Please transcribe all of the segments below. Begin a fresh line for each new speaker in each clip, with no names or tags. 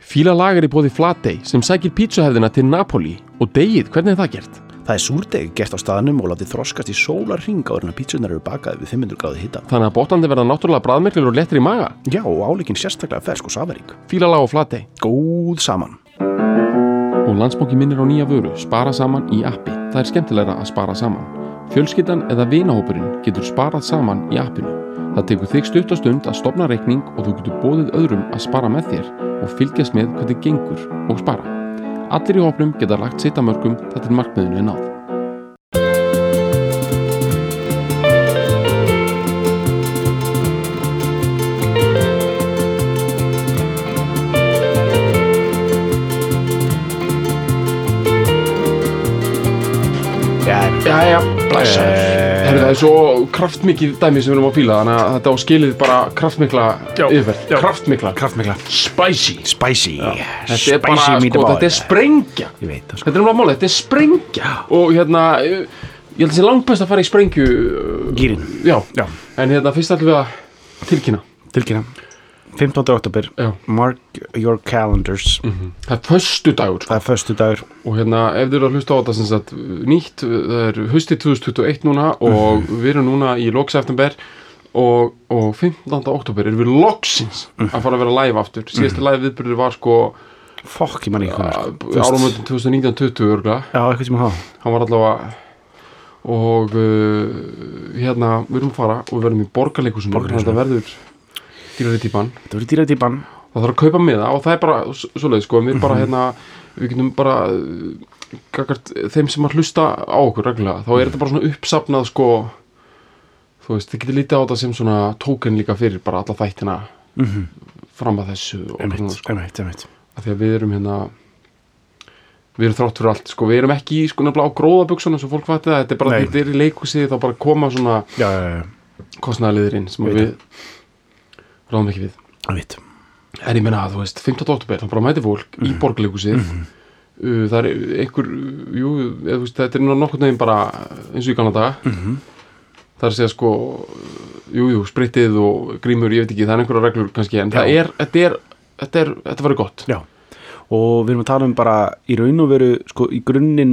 Fíla lagar í bóði Flatey sem sækir pítsuhefðina til Napoli og degið, hvernig er það gert?
Það er súrdeg gert á staðnum og látið þroskast í sólar hring áður en að pítsunar eru bakaði við 500 gráði hita.
Þannig að botandi verða náttúrulega bræðmerklur og lettir í maga.
Já, og áleikin sérstaklega fersk og safarík.
Fíla lag og Flatey.
Góð saman.
Og landsbóki minnir á nýja vöru, spara saman í appi. Það er skemmtilegra að spara saman. Fjölskyldan eða vinahópurinn getur sparað saman í appinu. Það tekur þig stutt og stund að stopna reikning og þú getur bóðið öðrum að spara með þér og fylgjast með hvernig gengur og spara. Allir í hópnum geta lagt sitt að mörgum þar til markmiðinu er náð.
Já,
Jæja,
Blessaður.
Eh, Herri, það er svo kraftmikið dæmi sem við erum að fíla þannig að þetta á skilið bara kraftmikla
Já,
yfirferð,
já.
kraftmikla
kraftmikla
spicy,
Spicy.
þetta er bara, sko, þetta er sprengja
Ég veit það, sko.
þetta er umlað málið, þetta er sprengja og hérna, eh, ég held að sé langbæst að fara í sprengju eh,
Gýrin.
já,
Já.
en hérna fyrst ætlum við að tilkynna
Tilkynna. 15. oktober.
Já.
Mark your calendars.
það er sko. föstu dagur
Það er föstu dagur.
og hérna ef þið eru að hlusta á þetta sem sagt nýtt, það er haustið 2021 núna og við erum núna í loks eftember og, og 15. oktober erum við loksins að fara að vera live aftur, síðasta live viðbyrður var sko uh,
Fokk, ég man ekki hvað.
árumöndin 2019-20 örgulega,
Já, eitthvað sem það.
hann var allavega og uh, hérna við erum að fara og við verðum í borgarleikusinu
Borgarleikhúsinu.
þetta verður dýrari típan
Þetta verður dýra típan.
það þarf að kaupa miða og það er bara s- svoleiðis sko, við
Mhm.
bara hérna við getum bara uh, gagart, þeim sem að hlusta á okkur reglulega þá er þetta bara svona uppsafnað sko þú veist, þið getur lítið á þetta sem svona tóken líka fyrir bara alla þættina fram að þessu og bara svona,
Mhm. Einmitt,
sko,
einmitt, einmitt.
að því að við erum hérna við erum þrátt fyrir allt sko, við erum ekki í sko nefnilega á gróðabuksunum sem fólk fætti það, þetta er bara,
Nei.
þetta er í leikhúsi þá bara koma svona
Já, já, já.
kostnæðaliðurinn sem
Veit
við, við ráðum ekki við
Einmitt.
En ég menna að þú veist, 15. oktober, þá bara mæti fólk
Mhm.
í borgarleikusið uh, Það er einhver, uh, jú, eða, þú veist, þetta er nú nokkurn veginn bara eins og í gamla daga
Mhm.
Það er að segja sko, jú, jú, spritið og grímur, ég veit ekki, það er einhverja reglur kannski En það
Já.
er, þetta er, þetta er, þetta verður gott
Já. Og við erum að tala um bara í raun og veru, sko, í grunninn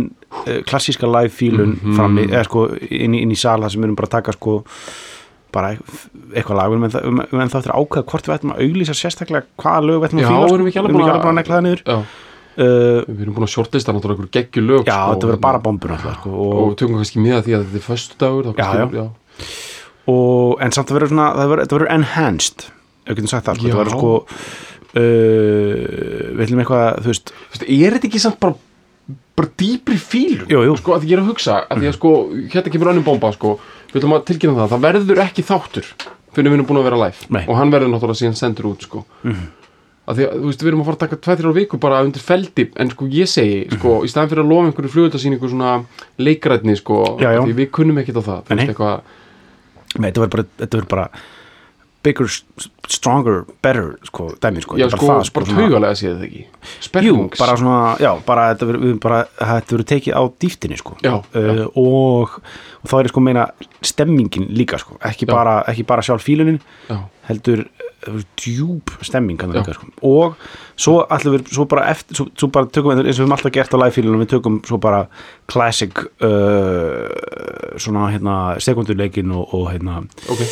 eh, klassíska live fílun
Mhm.
frammi, eða sko, inn í, inn í sal þar sem við erum bara að taka, sko, bara eit- eitthvað lag, við erum ennþá- við erum ennþá eftir að ákveða hvort við ætlum að auglýsa sérstaklega hvaða lög við ætlum að
Já,
fíla, sko.
erum við ekki alveg
við
búin að- Sko,
að negla það niður.
Já,
Uh,
við erum búin að shortlista náttúrulega einhver geggjulög
já,
sko,
þetta verður
hérna,
bara bombur, alltaf, sko, og,
Og tökum kannski miða því að þetta er föstudagur þá
Já,
kannski-
já. og en samt að vera svona, það verður, þetta verður enhanced ef við getum sagt það, sko,
Já.
það verður sko uh, við ætlum eitthvað, þú veist
Þú veist, er þetta ekki samt bara bara dýpri fílun
Jú, jú.
sko að ég er að hugsa að ég sko hérna kemur önnum bomba sko við ætlum að tilkynna það það verður ekki þáttur fyrir við erum búin að vera live
Nei. Mhm.
og hann verður náttúrulega síðan sendur út sko mm að því að þú veist við erum að fara að taka tveið þrjá viku bara undir feldi en sko ég segi
Mhm.
sko í staðan fyrir að lofa einhverju flugöldasýningu svona leikrætni sko
Já, já.
því við kunnum ekkit á það þú
Nei,
veist
nei.
eitthvað
nei, þetta verður bara, þetta verður bara bigger, s- stronger, better sko, dæmi, sko,
já
þetta er
sko
það,
bara
svona-
taugalega séð það ekki
Jú,
spennungs
bara svona, já, bara þetta verður við bara, þetta verður tekið á dýftinni, sko
Já,
uh, og, og þá er ég sko að meina stemmingin líka, sko,
Já.
ekki, bara, ekki bara sjálf fílunin,
já
heldur uh, djúb stemming hann
Já.
líka, sko. og svo ætlum við svo bara, eftir, svo, svo bara tökum við eins og við höfum alltaf gert á live-fílunum, við tökum svo bara classic uh, svona hérna sekundurleikin og, og hérna
ok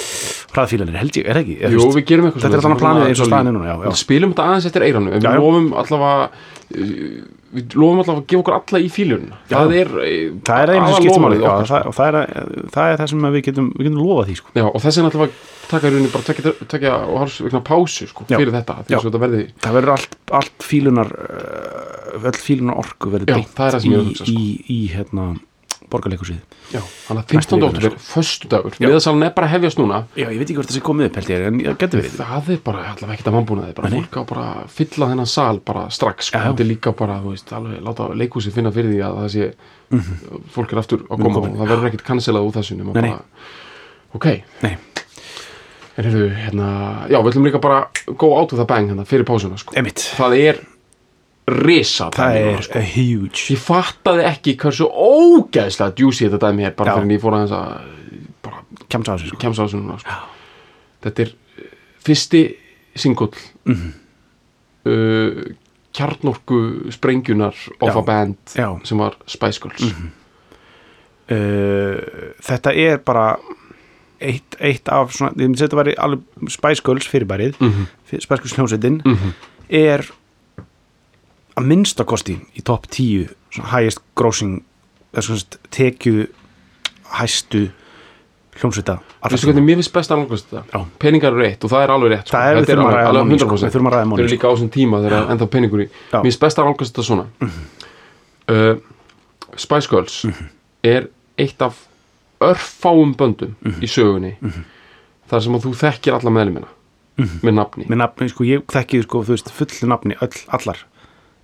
hraðfílunir held ég, er það ekki? Eða,
Jú,
þú veist,
við gerum eitthvað
Þetta er
svona.
allan planið eins og staðan er núna, já, já.
Við spilum þetta aðeins eftir eiranu Við
Já, já.
lofum allavega eh, Við lofum allavega að gefa okkur alla í fílun Það er eh,
það er einu sem
aðal
skiptir máli
loforðið
já,
okkar. sko.
það, og það er, það er það sem við getum, við getum lofað því sko.
Já, og þessi er náttúrulega að taka í rauninni bara tvekja, tvekja og hálfs vegna pásu sko,
Já.
fyrir þetta því
Já.
að þetta verði
það verður allt, allt fílunar uh, öll fílunar orku
Já,
verður
það er það sem ég er að hugsa,
beint í,
sko.
í, í hérna borgarleikursið
Já, hann að 15.
Næstu vikuna,
oktober, föstudagur miðasalan er bara að hefjast núna
Já, ég veit ekki hvort það sé komið upp held ég en það getur verið
Það er bara allavega ekkert að mannbúnaði bara
Nei, nei.
fólk á bara að fylla þennan sal bara strax sko.
Já, já.
þetta er líka bara, þú veist, alveg láta leikhúsi finna fyrir því að það sé fólk er aftur á koma og
komin.
það verður ekkert cancelað úr þessu nema
Mhm. Nei, nei.
bara, ok,
Nei,
en heyrðu, hérna já, við ætlum líka bara go out of the bang hérna, fyrir pásuna, sko
emitt
það er risa
Það
dæmi núna,
er
sko.
huge
ég fattaði ekki hversu ógæðslega djúsi þetta dæmi er bara
Já.
fyrir en ég fór aðeins að bara
Kemst á þessu sko
kemst á þessu núna sko.
Mhm.
þetta er eh, fyrsti singull mm -hmm. uh, kjarnorku sprengjunar of
Já.
a band
Já. Mhm.
sem var Spice Girls
uh, þetta er bara eitt, eitt af svona, ég myndi segja þetta væri alveg Spice Girls fyrirbærið mm
Mhm.
-hmm. Spice Girls hljómsveitin er að minnsta kosti í topp 10 svona highest grossing eða svona sagt, tekju hæstu hljómsveita allra
Veistu hvernig mér finnst best að langast þetta?
Já.
Peningar eru rétt og það er alveg rétt
Það er- við
Þetta
þurfum að
alveg-
ræða
alveg
money, sko.
100%.
Við þurfum að ræða money,
Þau eru líka á þessum tíma þegar það er ennþá peningur í
Já. Mhm.
Mér finnst best að langast þetta svona uh, Spice Girls er eitt af örfáum böndum
Mhm.
í sögunni þar sem að þú þekkir alla meðlumina með nafni
Mhm. með nafni, sko, ég þekki sko, þú veist, fullu nafni, öll, allar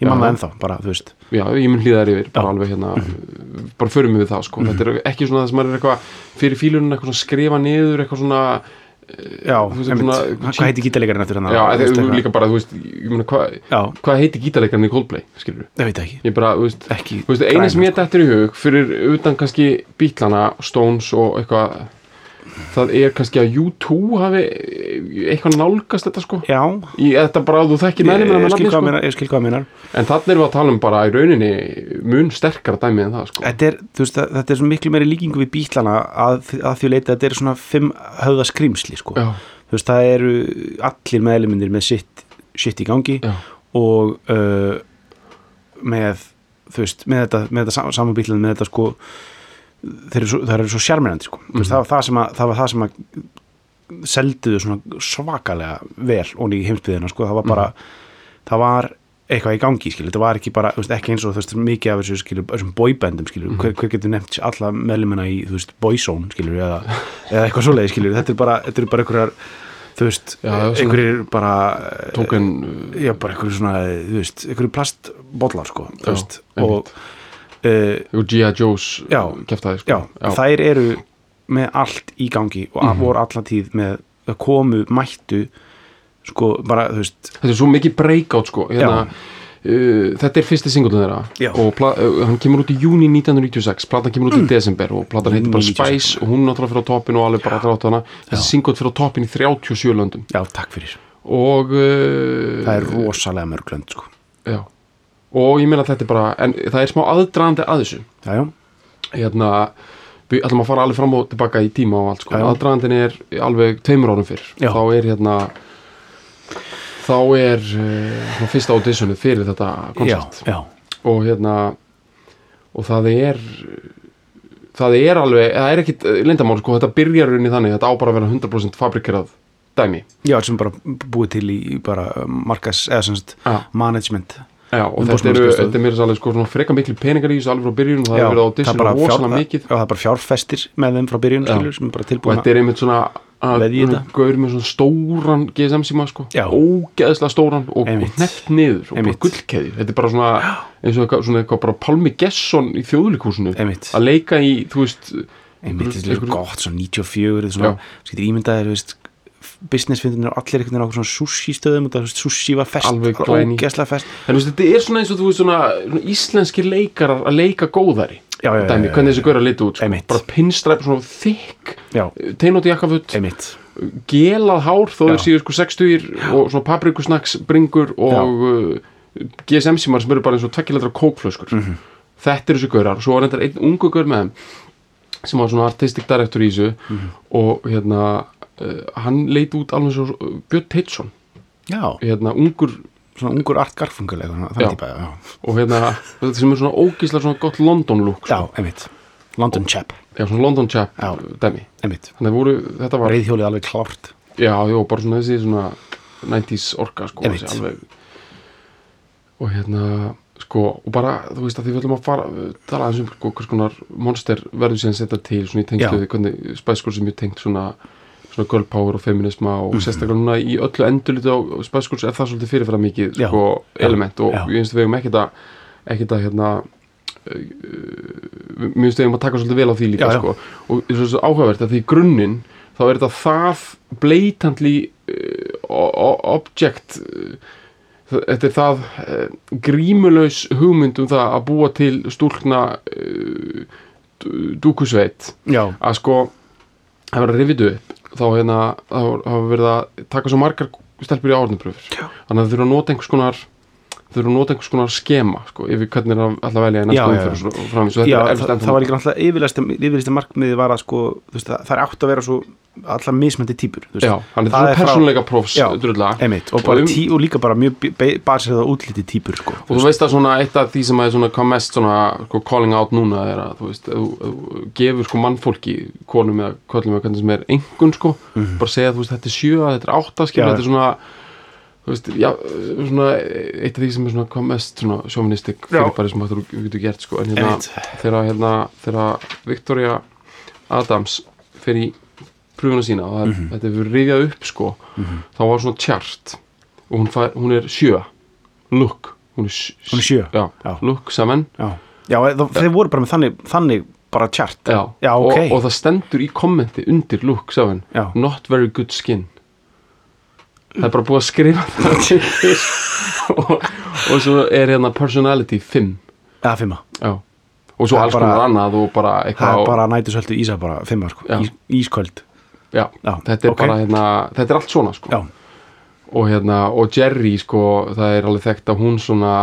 ég man
Já.
það ennþá, bara, þú veist
Já, ég mun hlýða þær yfir, bara
Já. Mhm.
alveg hérna bara förum við það, sko Þetta er ekki svona það sem maður er eitthvað fyrir fílunum eitthvað svona skrifa niður, eitthvað svona
já,
Þú veist,
einmitt,
svona-
hvað heiti gítalegarinn eftir hann
Já, þetta er líka bara, þú veist, ég meina hvað
já,
hvað heiti gítarleikarinn í Coldplay, skilur
ég veit það ekki,
ég bara, þú veist,
ekki
þú veist eina
græna,
sem ég
sko.
dættir í hug fyrir utan kannski bítlana, Stones og eitthvað það er kannski að U2 hafi eitthvað nálgast þetta sko
já,
í þetta bara að þú þekkir
ég,
meðlumina
ég,
með
skil
nafni sko
hvað meina, ég skil hvað minnar
en þannig erum við að tala um bara í rauninni mun sterkara dæmi en það sko
þetta er, þú veist, það- þetta er svo miklu meiri líkingu við bítlana að, að því leita þetta er svona fimm höfða skrýmsli, sko
já,
þú veist, það eru allir meðlumindir með sitt, sitt í gangi
já,
og uh, með þú veist, með þetta, með þetta sam samanbílan með þetta sko þeir eru svo, þeir eru svo sjarmirandi sko mm
Mhm.
veist, það, var það, sem að, það var það sem að selduðu svona svakalega vel onni í heimsbyðina sko það var bara,
Mhm.
það var eitthvað í gangi skilur, þetta var ekki bara, þú veist, ekki eins og þú veist, mikið af þessu skilur, þessum boybandum skilur,
Mhm.
hver, hver getur nefnt alla meðlumina í, þú veist, boyzone skilur, eða, eða eitthvað svoleiði skilur þetta er bara, þetta er bara einhverjar þú veist,
Já, já, svona-
einhverjir bara
tók en
Já, bara einhverju svona, þú veist, einhverju plastbollar, sko,
Já,
þú veist,
einmitt.
og uh,
og G.I. Joe's
Já.
keftaði
já,
sko já, Mhm.
þær eru með allt í gangi og mm voru alla tíð með að komu, mættu, sko, bara, þú veist,
þetta er svo mikið breakout sko hérna,
Já.
uh, þetta er fyrsti singulun þeirra
Já. Mm.
og pla- uh, hann kemur út í júni 1996 platan kemur út í desember og platan heitir bara
1996.
Spice og hún er náttúrulega fyrir á toppin og alveg bara allir átt hana þessi singul fyrir á toppin í 37 löndum
já, takk fyrir,
og uh,
það er rosalega mörglönd, sko,
já. og ég meina þetta er bara en það er smá aðdraðandi að þessu
já, já,
hérna við ætlum að fara alveg fram og tilbaka í tíma og allt sko.
Já.
aðdragandin er alveg tveimur árum fyrr
Já.
þá er hérna þá er uh, svona fyrsta auditionu fyrir þetta konsert
já, já,
og hérna og það er það er alveg, það er ekkit lindamál sko, þetta byrjar í rauninni þannig, þetta á bara að vera 100% fabrikerað dæmi
já, sem bara búið til í bara markas, eða sem sagt,
Já.
management,
Já, og þetta
Umboðsmaður
eru,
skrifstofu.
þetta er mér svolítið sko, svona freka miklu peningar í þessu alveg frá byrjun og það
já,
hefur verið á
er
auditionu
bara
rosalega mikið
já, það er bara fjárfestir með þeim frá byrjun,
Já.
skilur, sem er bara
og
tilbúin
þetta er einmitt svona að- um
Veðja í þetta.
gaur með svona stóran GSM síma sko,
Já.
ógeðslega stóran og
Einmitt.
neft niður og bara
Einmitt.
gullkeði þetta er bara svona, eins og eitthvað, svona eitthvað bara Pálmi Gesson í þjóðulikúsinu
Einmitt.
að leika í, þú veist
einmitt, þetta er
einhverju-
gott, svona 94 svona,
Já.
skilur ímyndaðir, þú veist businessfindunir og allir einhvern veginn á okkur svona sushi stöðum og það, þú veist, sushi var fest
Alveg glæný.
ógeðslega fest
en þú veist, þetta er svona eins og þú veist svona, svona íslenskir leikarar að leika góðari
Já, já, já,
dæmi,
já, já,
hvernig þessi gaur að lita út sko.
Einmitt.
bara pinstræp, svona þykk
já,
teinóti jakkafutt,
einmitt,
gelað hár þó
Já.
þeir séu sko 60 og svona paprikusnacks bringur og uh, GSM símar sem eru bara eins og tvekkilegdra kókflöskur
Mhm.
þetta eru þessu gaurar og svo var reyndar einn ungu gaur með þeim sem var svona artistic director í þessu
Mhm.
og hérna uh, hann leit út alveg svo uh, Björn Teitsson
já,
hérna ungur
svona ungur Art Garfunkel eitthvað, svona,
Já.
þannig típa, já,
og hérna þetta sem er svona ógislega svona gott London look sko.
já, einmitt London Chap,
Já, svona London chap
Já.
dæmi
einmitt
Þannig að voru, þetta var
reyðhjólið alveg klárt,
Já, já, bara svona þessi svona 90s orka, sko
Einmitt.
þessi alveg, Og hérna, sko Og bara, þú veist að því við ætlum að fara Tala aðeins um sko, hvers konar monster verður síðan setja til Svona í tengstu
Já.
við hvernig Spice Girls er mjög tengt svona Svona girl power og feminisma
Mhm.
Og sérstaklega núna í öllu endurliti á Spice Girls Er það svolítið fyrirfæra mikið,
Já.
sko,
Já.
element Og
Já.
ég finnst við eigum ekkert að Ekkert að, hérna uh, uh, Mér finnst við eigum að taka svolítið vel á því líka,
Já, já.
sko og það er svo áhugavert að því í grunninn þá er þetta það bleitandli uh, o- o- object uh, þ- þetta er það uh, grímulaus hugmynd um það að búa til stúlkna uh, dú- dúkusveit
já,
að sko það verður að rifitu upp þá hérna þá hafa verið að taka svo margar stelpur í árnupröfur
Já.
þannig að þau þurfa að nota einhvers konar þurfum að nota einhvers konar skema sko, yfir hvernig er alltaf velja í
Já,
næsta
já,
umferð og svo- og framvegis og þetta
Já,
er
það,
efst
það
ennþá-
var líka náttúrulega yfirlista, yfirlista markmiði var að sko, þú veist, það, það er átt að vera svo allar mismandi típur þú veist.
Já, hann er
Það
svona
er frá-
persónleika prófs
Já,
drullega.
Einmitt, og,
Og
bara
um-
tí, og líka bara mjög barsið á útliti típur sko.
og þú veist að svona eitt af því sem að er svona hvað mest svona sko, calling out núna er að þú veist, ef þú- ef þú gefur sko mannfólki konum eða köllum eða hvernig sem er engun sko, bara segja þú veist þetta er sjö þetta er átta skilur,
Mhm. Já.
þetta er svona þú veist, já, svona eitt af því sem er svona hvað mest svona sjóministik
Já.
fyrirbæri sem þú getur gert sko, en hérna,
Einmitt.
þegar hérna, þegar Victoria Adams fer í pröfuna sína og það,
Mhm.
mm -hmm. þetta hefur rifjað upp sko þá var svona tjart og hún, fær, hún er sjö look, hún er, sj-
Hún er sjö?
já,
Já.
look saman
Já, já það, þeir voru bara með þannig, þannig bara tjart
já.
Já,
og,
ok.
og það stendur í kommenti undir look saman
Já.
not very good skin það er bara búið að skrifa það til og, og svo er hérna personality 5
eða fimma,
já. og svo
Það er
alls
bara-
konar annað og bara
það
eitthvað
er
og-
bara nætusöldu ísa bara fimma, sko.
Já.
Ís, ísköld
já,
Já,
þetta er
ok.
bara hérna, þetta er allt svona sko.
Já,
og hérna, og Jerry sko, það er alveg þekkt að hún svona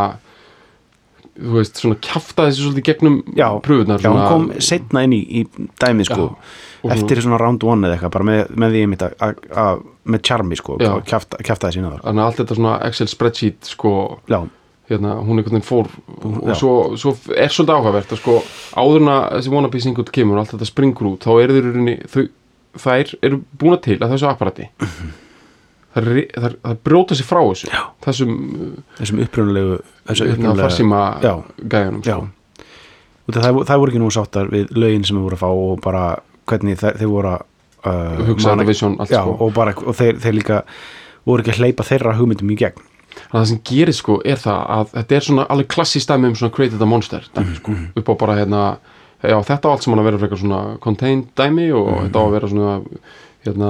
þú veist, svona kjafta þessu svolítið gegnum
já,
pröfunar
já hún kom setna inn í, í dæmið sko,
Og hún-
eftir svona round one eða eitthvað, bara með, með því einmitt að- að- að- með charmi sko,
Já.
kjafta, kjaftaði sína þar
þannig að allt þetta svona Excel spreadsheet sko,
Já,
hérna, hún einhvern veginn fór og
já.
svo, svo er svolítið áhugavert að sko, áðurna þessi wannabe singut kemur og allt þetta springur út, þá eru þeir í rauninni, þau, þær eru búna til að þessu apparati þær, ri- þær, þær brjóta sér frá þessu
Mhm. Já.
þessum
þessum upprunalegu þessum
hérna,
upprunalegu-
farsíma
Já,
gæjunum
já
sko.
Út af Það, vo- það voru ekki nú sáttar við lögin sem við voru að fá og bara hvernig þeir, þeir voru að uh,
Hugsa
mana-
þetta vision allt,
já,
sko.
og, bara, og þeir, þeir líka voru ekki að hleypa þeirra hugmyndum í gegn
Þannig að það sem gerir sko er það að þetta er svona alveg klassist dæmi um svona created a monster
Mhm,
dæmi, sko, upp á bara hérna já, þetta á allt sem hann að vera frekar svona contained dæmi og
Mhm,
þetta á að vera svona hérna,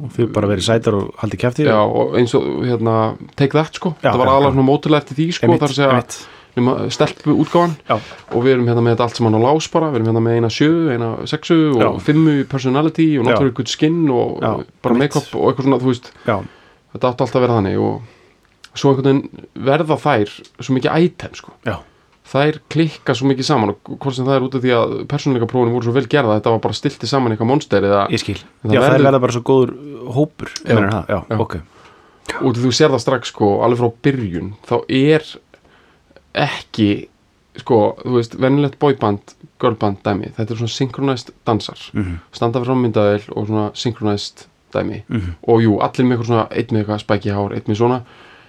og þau bara verið sætar og haldið kæfti
já, og eins og hérna take that sko,
Já,
þetta var
já,
aðalega
já.
svona mótilega eftir því sko,
Einmitt,
þar að segja
einmitt.
nema stelpu útgáfan
Já.
og við erum hérna með þetta allt sem hann á lás bara, við erum hérna með eina sjö, eina sexu og
Já.
fimmu í personality og
Já.
náttúrulega good skin og
Já,
bara
einmitt.
make-up og eitthvað svona, þú veist
já,
þetta átti alltaf að vera þannig og svo einhvern veginn verða þær svo mikið item sko
já,
þær klikka svo mikið saman og hvort sem það er út af því að persónuleika prófinu voru svo vel gerða þetta var bara stilti saman eitthvað monster eða
ég skil
En það
já,
verður-
þær verða bara svo góður uh, hópur
Já.
já, það, já,
Já.
já. ok
út af því þú sér það strax sko alveg frá byrjun þá er ekki sko, þú veist, venjulegt boyband girlband dæmi, þetta er svona synchronized dansar,
Mhm.
standa frá myndaðil og svona synchronized dæmi
Mhm.
og jú, allir með eitthvað svona, einn með eitthvað spæki hár, einn með svona,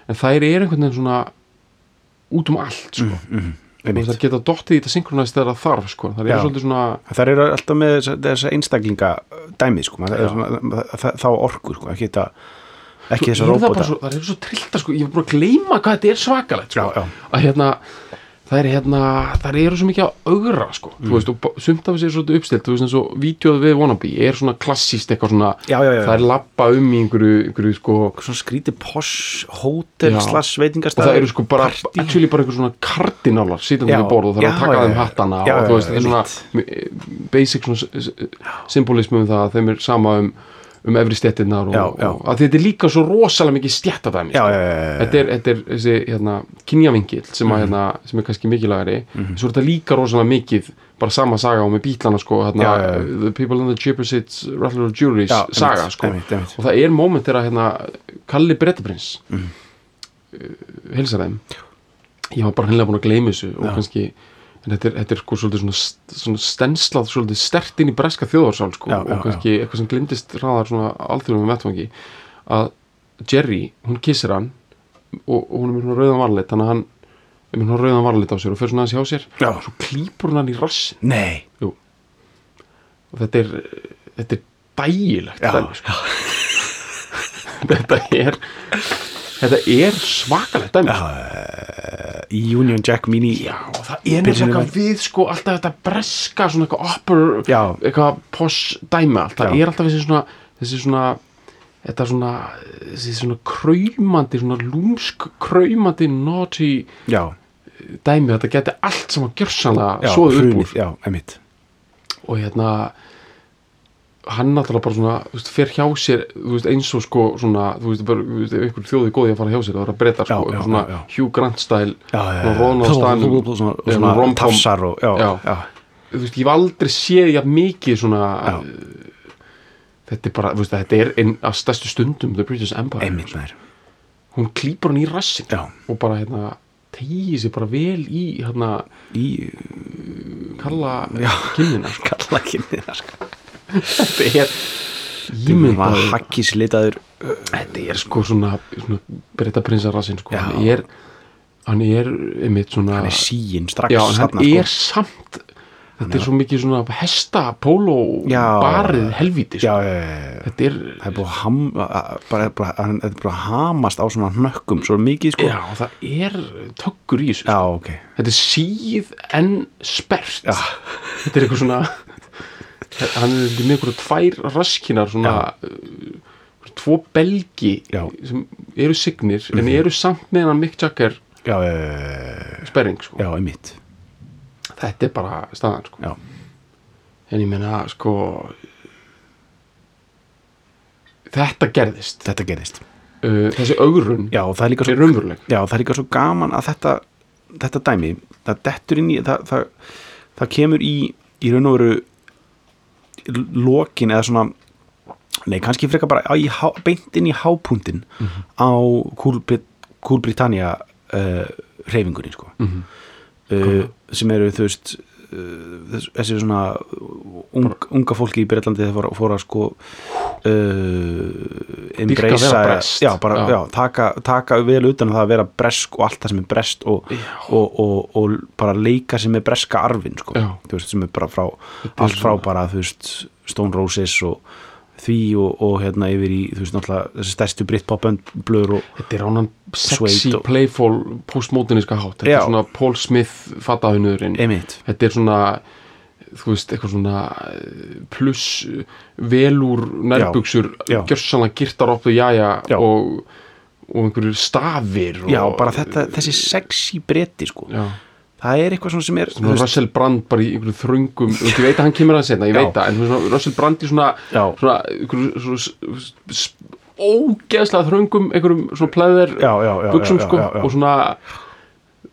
en þær er einhvern veginn svona út um allt sko, mm
Einmitt.
þær geta dottið í þetta synchronized þegar það þarf sko, þær eru
Já.
svolítið svona
þær eru alltaf með þessa- þessa einstaklinga dæmið sko, maður- svona, það, þá orku sko, ekki þetta ekki þessa
Svo eru það bara
róbóta
svo, það eru svo trillta sko, ég var bara að gleyma hvað þetta er svakalegt sko.
Já, já.
að hérna það er hérna, það eru svo mikið að augra sko,
Mm.
þú veist, og ba- sumt af þessi er svolítið uppstilt þú veist, eins og vídeoð við wannabe er svona klassíst eitthvað svona,
Já, já, já, já.
það er lappa um í einhverju, einhverju sko og
svona skrítið posh, hótel,
Já.
slags veitingastæður
það eru sko bara, actually bara einhver svona kardinálar sittum
Já,
við borð og það er að
já,
taka
já,
þeim
já.
hattana
Já,
og
já,
þú veist,
já,
þetta er svona basic svona s- s- symbolismi um það að þeim er sama um um efri stjettinnar og,
Já, já.
og að þetta er líka svo rosalega mikið stjettadæmi
já, já, já, já,
þetta er, þetta er þessi hérna, kynjavingil sem,
Mhm.
mm hérna, sem er kannski mikilagari svo er þetta líka rosalega mikið bara sama saga og með bílana sko, hérna,
Já, já, já.
The People in the Jeepersits Rattler of Juries
Já,
saga
einmitt,
sko.
einmitt, einmitt. Mhm.
og það er moment þegar hérna, Kalli Brettaprins mm hilsa þeim ég var bara hennilega búin að gleyma þessu og kannski En þetta er, þetta er sko svolítið svona, st- svona stenslað svolítið stert inn í breska þjóðarsál sko,
Já, já,
og kannski eitthvað sem glimtist hraðar svona alþjóðum vettvangi að Jerry, hún kissir hann og, og hún er með svona rauðan varlit þannig að hann er með svona rauðan varlit á sér og fer svona aðeins hjá sér
Já.
svo klýpur hún hann í rassin
nei
Jú. og þetta er þetta er dægilegt
Já,
dæmi, sko. þetta er þetta er svakalegt dæmi já.
í Union Jack Mini
og það er neitt
Byrjunum
eitthvað við sko alltaf þetta breska svona eitthvað opera,
Já.
eitthvað posh dæmi allt, það
Já.
er alltaf þessi svona þessi svona þetta svona, þessi svona kraumandi svona lúmsk kraumandi naughty
já,
dæmi þetta geti allt sem að gjörsanlega
já,
svoðu upp
hrunið,
úr
já, emitt
og hérna hann náttúrulega bara svona þú veist, fer hjá sér þú veist, eins og sko svona þú veist, bara, þú veist, ef einhver þjóði góði að fara hjá sér það var að breyta sko,
Já, já,
svona
já, já.
Hugh Grant stæl
já, já,
Ronan á staðnum.
og svona,
Já,
svona
rom-com.
tafsar og, já,
Já.
já.
þú veist, ég hef aldrei séð jafn mikið svona
Já.
uh, þetta er bara, þú veist, þetta er einn af stærstu stundum The British Empire
einmitt maður
hún klýpar hann í rassin
já,
og bara hérna tegið sér bara vel í hérna
í
kalla kinnina sko.
kalla kynniða sko.
þetta er
var
ímyndaður
hakkislitaður
þetta er sko svona, svona breyta prinsarassin sko.
Já.
hann er hann er einmitt svona
hann er síinn strax
já, en hann
þarna, sko.
er samt þetta er svo mikið svona hesta, póló
Já.
barið helvíti
já,
sko.
já, já, já.
þetta er
það er búið að ham, að- bara, bara, hann er búið að hamast á svona hnökkum svo mikið sko
já, það er tökkur í þessu
já ok
þetta er síð en sperrt
já,
þetta er eitthvað svona hann er með einhverja tvær raskinar svona uh, tvo belgi
Já. Mhm.
sem eru signir en eru samt með hann Mick Jagger
já, já, já,
sperring sko.
já, einmitt
þetta er bara staðan sko.
já,
en ég meina sko þetta gerðist
þetta gerist
uh, þessi augrun
já, og það er líka svo
er umveruleg
Já, það er líka svo gaman að þetta þetta dæmi, það dettur inn í það, það, það kemur í í raun og veru lokin eða svona nei, kannski frekar bara í, há- beint inn í hápúntin
Mhm.
á Cool, Brit, cool Britannia uh, reyfingunni sko
Mhm.
uh, sem eru þú veist uh, þess- þessi svona ung, unga fólki í Breitlandi þeir fóra, fóra sko uh,
Dýrka að vera
embracea
breskt.
já, bara,
Já.
já. taka, taka vel utan um það að vera bresk og allt það sem er brest og, og, og, og bara leika sem er breska arfin sko.
Já.
Þú veist, sem er bara frá
er
allt frá bara þú veist, Stone Roses og því og, og hérna yfir í þú veist náttúrulega þessi stærstu Britpopönd blöður og
þetta er ánan sexy,
Suede og-
playful postmoderniska hátt, þetta
Já.
er svona Paul Smith fataðunurinn,
emitt
þetta er svona þú veist, eitthvað svona eh, pluss eh, velúr nærbuksur,
Já. Já.
gjörsanlega girtar upp þau jæja
Já.
og, og einhverjir stafir og,
já bara þetta, þessi sexy bretti sko.
já,
það er eitthvað svona sem er
svona
þú veist,
Russell Brand bara í einhverju þröngum, þú veist, ég veit að hann kemur að segna ég
Já.
veit það, en svona, Russell Brand í svona
Já.
svona, einhverju svona s- s- s- ógeðslega þröngum einhverjum svona pleðir
já, já, já,
buksum
já,
sko
já, já.
og svona,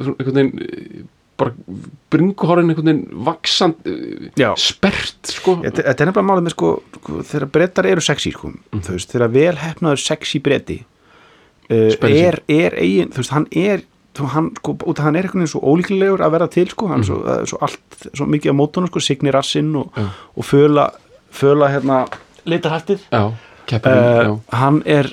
svona einhvern veginn eh, bara bringuhorinn einhvern veginn eh, vaksand
Já.
sperrt sko Mhm.
Þetta þetta er nefnilega málið með sko, sko þegar brettar eru sexy sko, þú veist, þegar vel hefnaður sexy bretti uh,
Spensi.
er, er eigin, þú veist, hann er þú, hann, sko, út, af hann er einhvern veginn svo ólíkilegur að vera til sko, hann svo, það er svo allt svo mikið á mótunum sko, signi rassinn og,
Mhm. Já.
og föla, föla hérna litarhattið
já, keppurinn,
uh,
já
hann er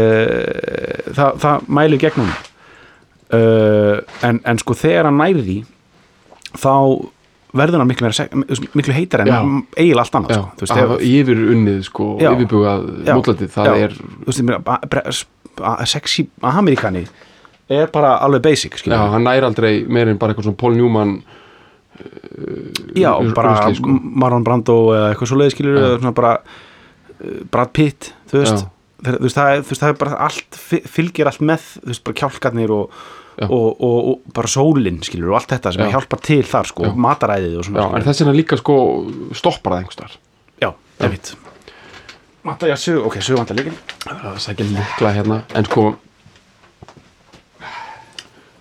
uh, það, það mælu gegnum uh, en, en sko þegar hann næri því þá verður hann miklu, meira sek- miklu heitar en
Já.
eiginlega allt annað
Já,
sko. þú veist,
að
ef,
hafa yfir unnið sko,
Já.
yfirbugað
Já.
mótlætið, það
Já.
er
þú veist, ég meina, ba- bre- s- a- sexy amerikani er bara alveg basic
já,
skilurðu.
hann nær aldrei meir en bara eitthvað svona Paul Newman
já,
ur-
bara
rusli, sko.
Marlon Brando eða eitthvað svo leiðskilur eða svona bara uh, Brad Pitt þú veist,
Já.
þeir, þú veist, það, er, þú veist það er bara allt fi- fylgir allt með, þú veist bara kjálkarnir og,
Já.
og, og, og bara sólin skilur og allt þetta sem
Já.
hjálpar til þar sko,
Já.
og mataræðið og
já,
svona
en þess vegna líka sko stoppar það einhverstaðar
já, það veit Mata, já, sög, ok, sög vantar líkin
það er sækja lykla hérna en sko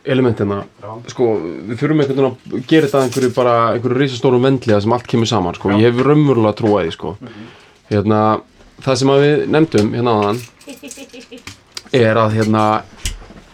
elementina sko, við þurfum einhvern veginn að gera þetta að einhverju bara, einhverju risastórum vendliða sem allt kemur saman, sko, ég hef raunverulega trúið því, sko, hérna það sem að við nefndum, hérna aðan er að, hérna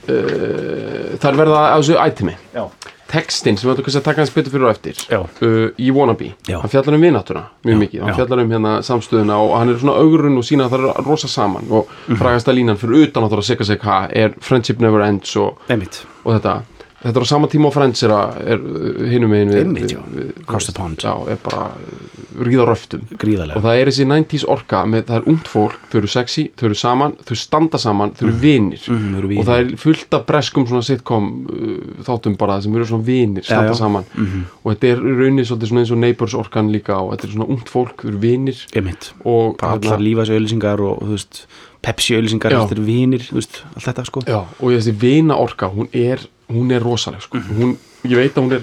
uh, þar verða á þessu ætimi,
já,
textin sem við ætlum kannski að taka hans betur fyrir og eftir
Já.
uh, í Wannabe,
Já.
hann fjallar um vinátuna mjög
Já,
mikið, hann
já.
fjallar um hérna samstöðuna og hann er svona augrun og sína að það er rosa saman og
Mhm.
frægasta línan fyrir utan að það er að segja segja hvað er Friendship Never Ends og,
einmitt,
og þetta þetta er á sama tíma og Friends er, að- er uh, hinum einu við,
Einmitt,
við-
já.
við-
Cross the pond.
já, er bara uh, ríða röftum og
gríðarlega
það er þessi 90s orka með það er ungt fólk, þau eru sexy, þau eru saman þau standa saman, þau eru vinir
Mhm, þau eru vinir.
og það er fullt af breskum svona sitcom uh, þáttum bara sem eru svona vinir standa
já. Mhm.
saman og þetta er raunir svolítið svona eins og neighbors orkan líka og þetta er svona ungt fólk, þau eru vinir
einmitt,
og
bara
hérna-
allar lífas auðlýsingar og, þú veist, Pepsi auðlýsingar,
Já.
þetta er vinir þú veist, allt þetta sko
Já,
Mhm.
og þessi vina orka, hún er hún er rosaleg, sko. hún, ég veit að hún er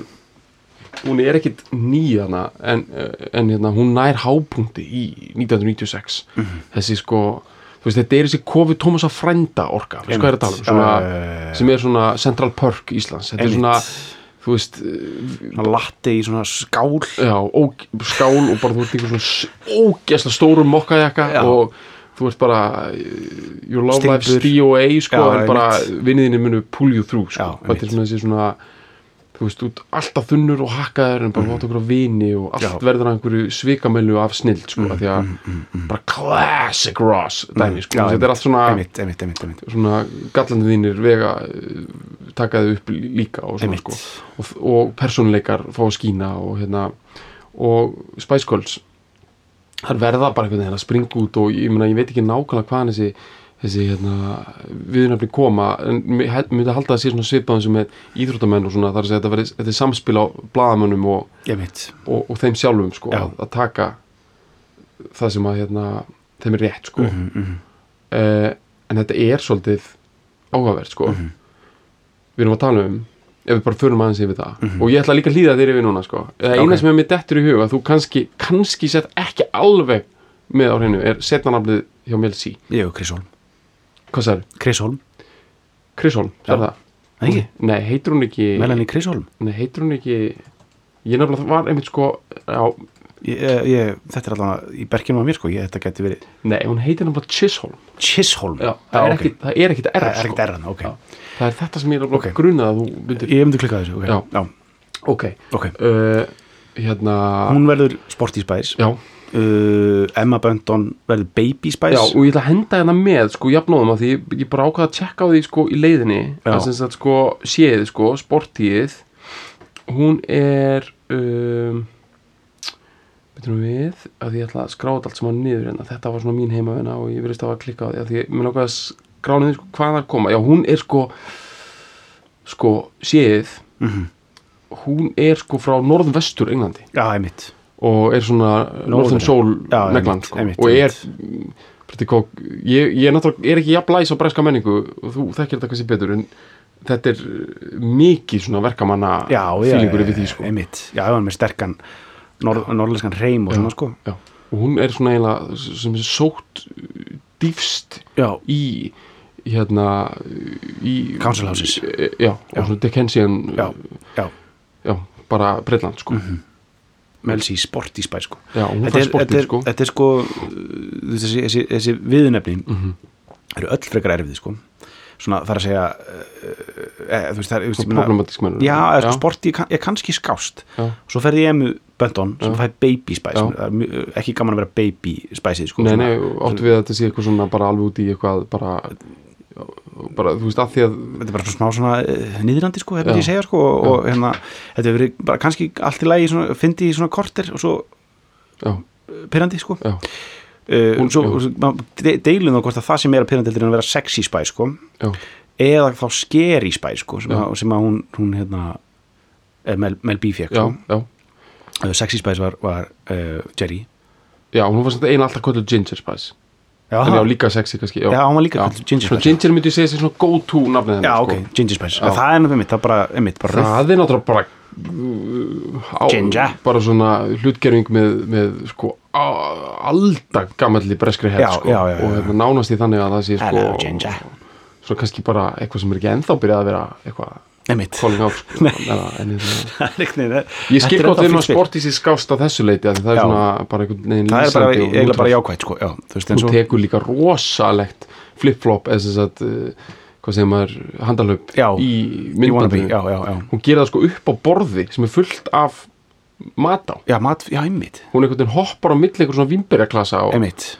hún er ekkit nýjana en, eh, en hérna, hún nær hápunkti í 1996
Mhm.
þessi sko, þú veist, þetta er þessi kofi Tómasa Frænda orka veist hvað er að tala um, svona,
Já, já, já, já.
sem er svona Central Park Íslands þetta er
Einmitt.
svona, þú veist
svona latte í svona skál
já, óg, skál og bara þú ert einhver svona s- ógeðslega stórum mokkajakka
Já.
og þú ert bara eh, your love life's
Stimpur.
DOA sko,
Já,
en bara
einmitt.
vinniðinni munu pull you through sko.
Já,
þetta
einmitt.
er svona þessi svona þú veist, út alltaf þunnur og hakkaður en bara mm. okkur á vini og allt
Já.
verður að einhverju svikamellu af snild sko, mm. því að bara classic Ross dæmi, sko,
Mm, Já,
þetta er allt svona
einmitt, einmitt, einmitt, einmitt.
svona gallandi þínir vega eh, taka þau upp líka og, svona,
Einmitt.
sko, og, og persónuleikar fá að skína og hérna og Spice Girls þar verða bara einhvern veginn að springa út og ég, meina, ég veit ekki nákvæmlega hvaðan þessi þessi hérna viðnafni koma en mér held- myndi að halda að sé svona svipaðum sem með íþróttamenn og svona þar að segja þetta verið þetta er samspil á blaðamönnum og,
einmitt.
og, og þeim sjálfum sko
Já.
að, að taka það sem að hérna þeim er rétt sko
Mm -hmm.
uh, en þetta er svolítið áhugavert sko
Mhm.
við erum að tala um ef við bara förum aðeins yfir það og ég ætla líka að hlýða þér yfir núna sko það eina
Mhm. Ok.
sem er mér dettur í huga þú kannski, kannski sett ekki alveg með á hreinu er setnarnaflið hjá Mel C
Jú, Chris Holm
hvað sagður?
Chris Holm,
Chris Holm, sagði það?
Nei, ekki?
Nei, heitir hún ekki
Melanie Chris Holm
Nei, heitir hún ekki ég nefnilega var einmitt sko á,
ég, eh, ég, Þetta er allavega í berginum á mér sko ég, Þetta geti verið
nei, hún heitir nefnilega Chisholm
Chris Holm
Já, það, er
ok.
ekki, það er ekkit erf
Það er
sko.
ekkert erðan, ok
það er þetta sem ég er okay.
Ok.
grunað að þú myndir
Ég myndi klikka á þessu, ok
Já.
Já,
ok,
ok
uh, hérna
Hún verður Sporty Spice
Já,
uh, Emma Bunton verður Baby Spice
já, og ég ætla að henda hérna með sko jafnóðum að því ég, ég bara ákvaða að tjekka á því sko í leiðinni
Já.
að sem sagt sko séð sko sportíð hún er um, veitum við að ég ætla að skráða allt saman niður hérna þetta var svona mín heimavina og ég virðist að hafa klikkað á því að því ég mér ákvaða að skráða niður sko hvað það koma já, hún er sko sko séð
Mhm.
hún er sko frá norðvestur Englandi
já einmitt
og er svona Northern Soul
Já,
neglan
einmitt,
sko.
einmitt,
og er
einmitt.
mm, pretty cock ég, ég er náttúrulega er ekki jafn læs á breska menningu og þú þekkir þetta kannski betur en þetta er uh, mikið svona verkamanna
Já, já,
fílingur yfir því sko
einmitt Já, hann er með sterkan nor norðlenskan reym og svona sko
já. og hún er svona eiginlega sem er sótt uh, dýfst
sko. Já,
í hérna uh, í
Council houses.
E- já,
Já.
og svona Dickensian uh,
já, já
já bara Breitland sko
Melsi í Sporty Spice sko
já, og hún
Þetta
fær
er, þetta
sportið
er,
sko
þetta er sko uh, þessi, þessi, þessi viðunefni
Mhm.
eru öll frekar erfið sko svona þar að segja uh, e, þú veist það er ég meina-
problematísk mennur
já, eða sko, sporti er kann- er kannski skást
Já.
svo ferði ég emu Bönton sem
Já.
fæði Baby Spice
Já.
Það er mjög- ekki gaman að vera Baby Spice sko,
Nei,
svona-
nei, áttu við að þetta sé eitthvað svona bara alveg út í eitthvað bara, bara þú veist, að því að
þetta er bara svona smá svona eh, niðrandi sko, þetta
Já.
ég segja sko og, og hérna, þetta hefur verið bara kannski allt í lagi, svona, fyndi í svona korter og svo
já,
pyrrandi sko
já,
uh,
Hún-
Hún, svo,
já.
og svo maður de- deilum þá hvort að það sem er að pyrrandi heldur en að vera sexy spæ sko
já,
eða þá scary spæ sko sem,
Já.
að, sem að hún, hún hérna eh, Mel, Mel B fekk
já,
sko.
já
Eh, sexy spice var, var uh, Jerry
Já, hún var svona eiginlega alltaf kvöldu Ginger Spice
já,
En já, líka sexy kannski Já,
Já, hún var líka
Já.
kölluð Ginger
Svona
Spice.
Ginger myndi ég segja sér svona go-to nafnið
já
hennar,
ok, ginger spice
Já.
já. það er náttúrulega mitt, það er bara, einmitt, bara rauð.
Það er náttúrulega bara uh, á,
Ginger.
Bara svona hlutgerfing með, með sko, á, aldag gamalli breskri
Já,
hefð sko,
já, já, já,
Og
já.
hérna nánast í þannig að það sé sko,
hello ginger
Svona kannski bara eitthvað sem er ekki ennþá byrjað að vera eitthvað
einmitt
calling out sko, eða, en, hérna, Ég skil
eh, Þetta
gott við erum
ennþá fínt
að
spil.
sportísi skást að þessu leiti af því það er
Já.
svona bara einhvern veginn
það er bara,
lýsandi og
eiginlega bara
útrátt.
jákvætt sko, já, þú veist, en
Hún
svo
tekur líka rosalegt flip-flop eða sem sagt, uh, hvað segir maður handalöp
Já.
í
You wanna be,
myndbandinu
já, já, já,
Hún gerir það sko upp á borði sem er fullt af mat á
já, mat, já, einmitt
Hún einhvern veginn hoppar á milli einhver svona vimberjaklasa og,
einmitt,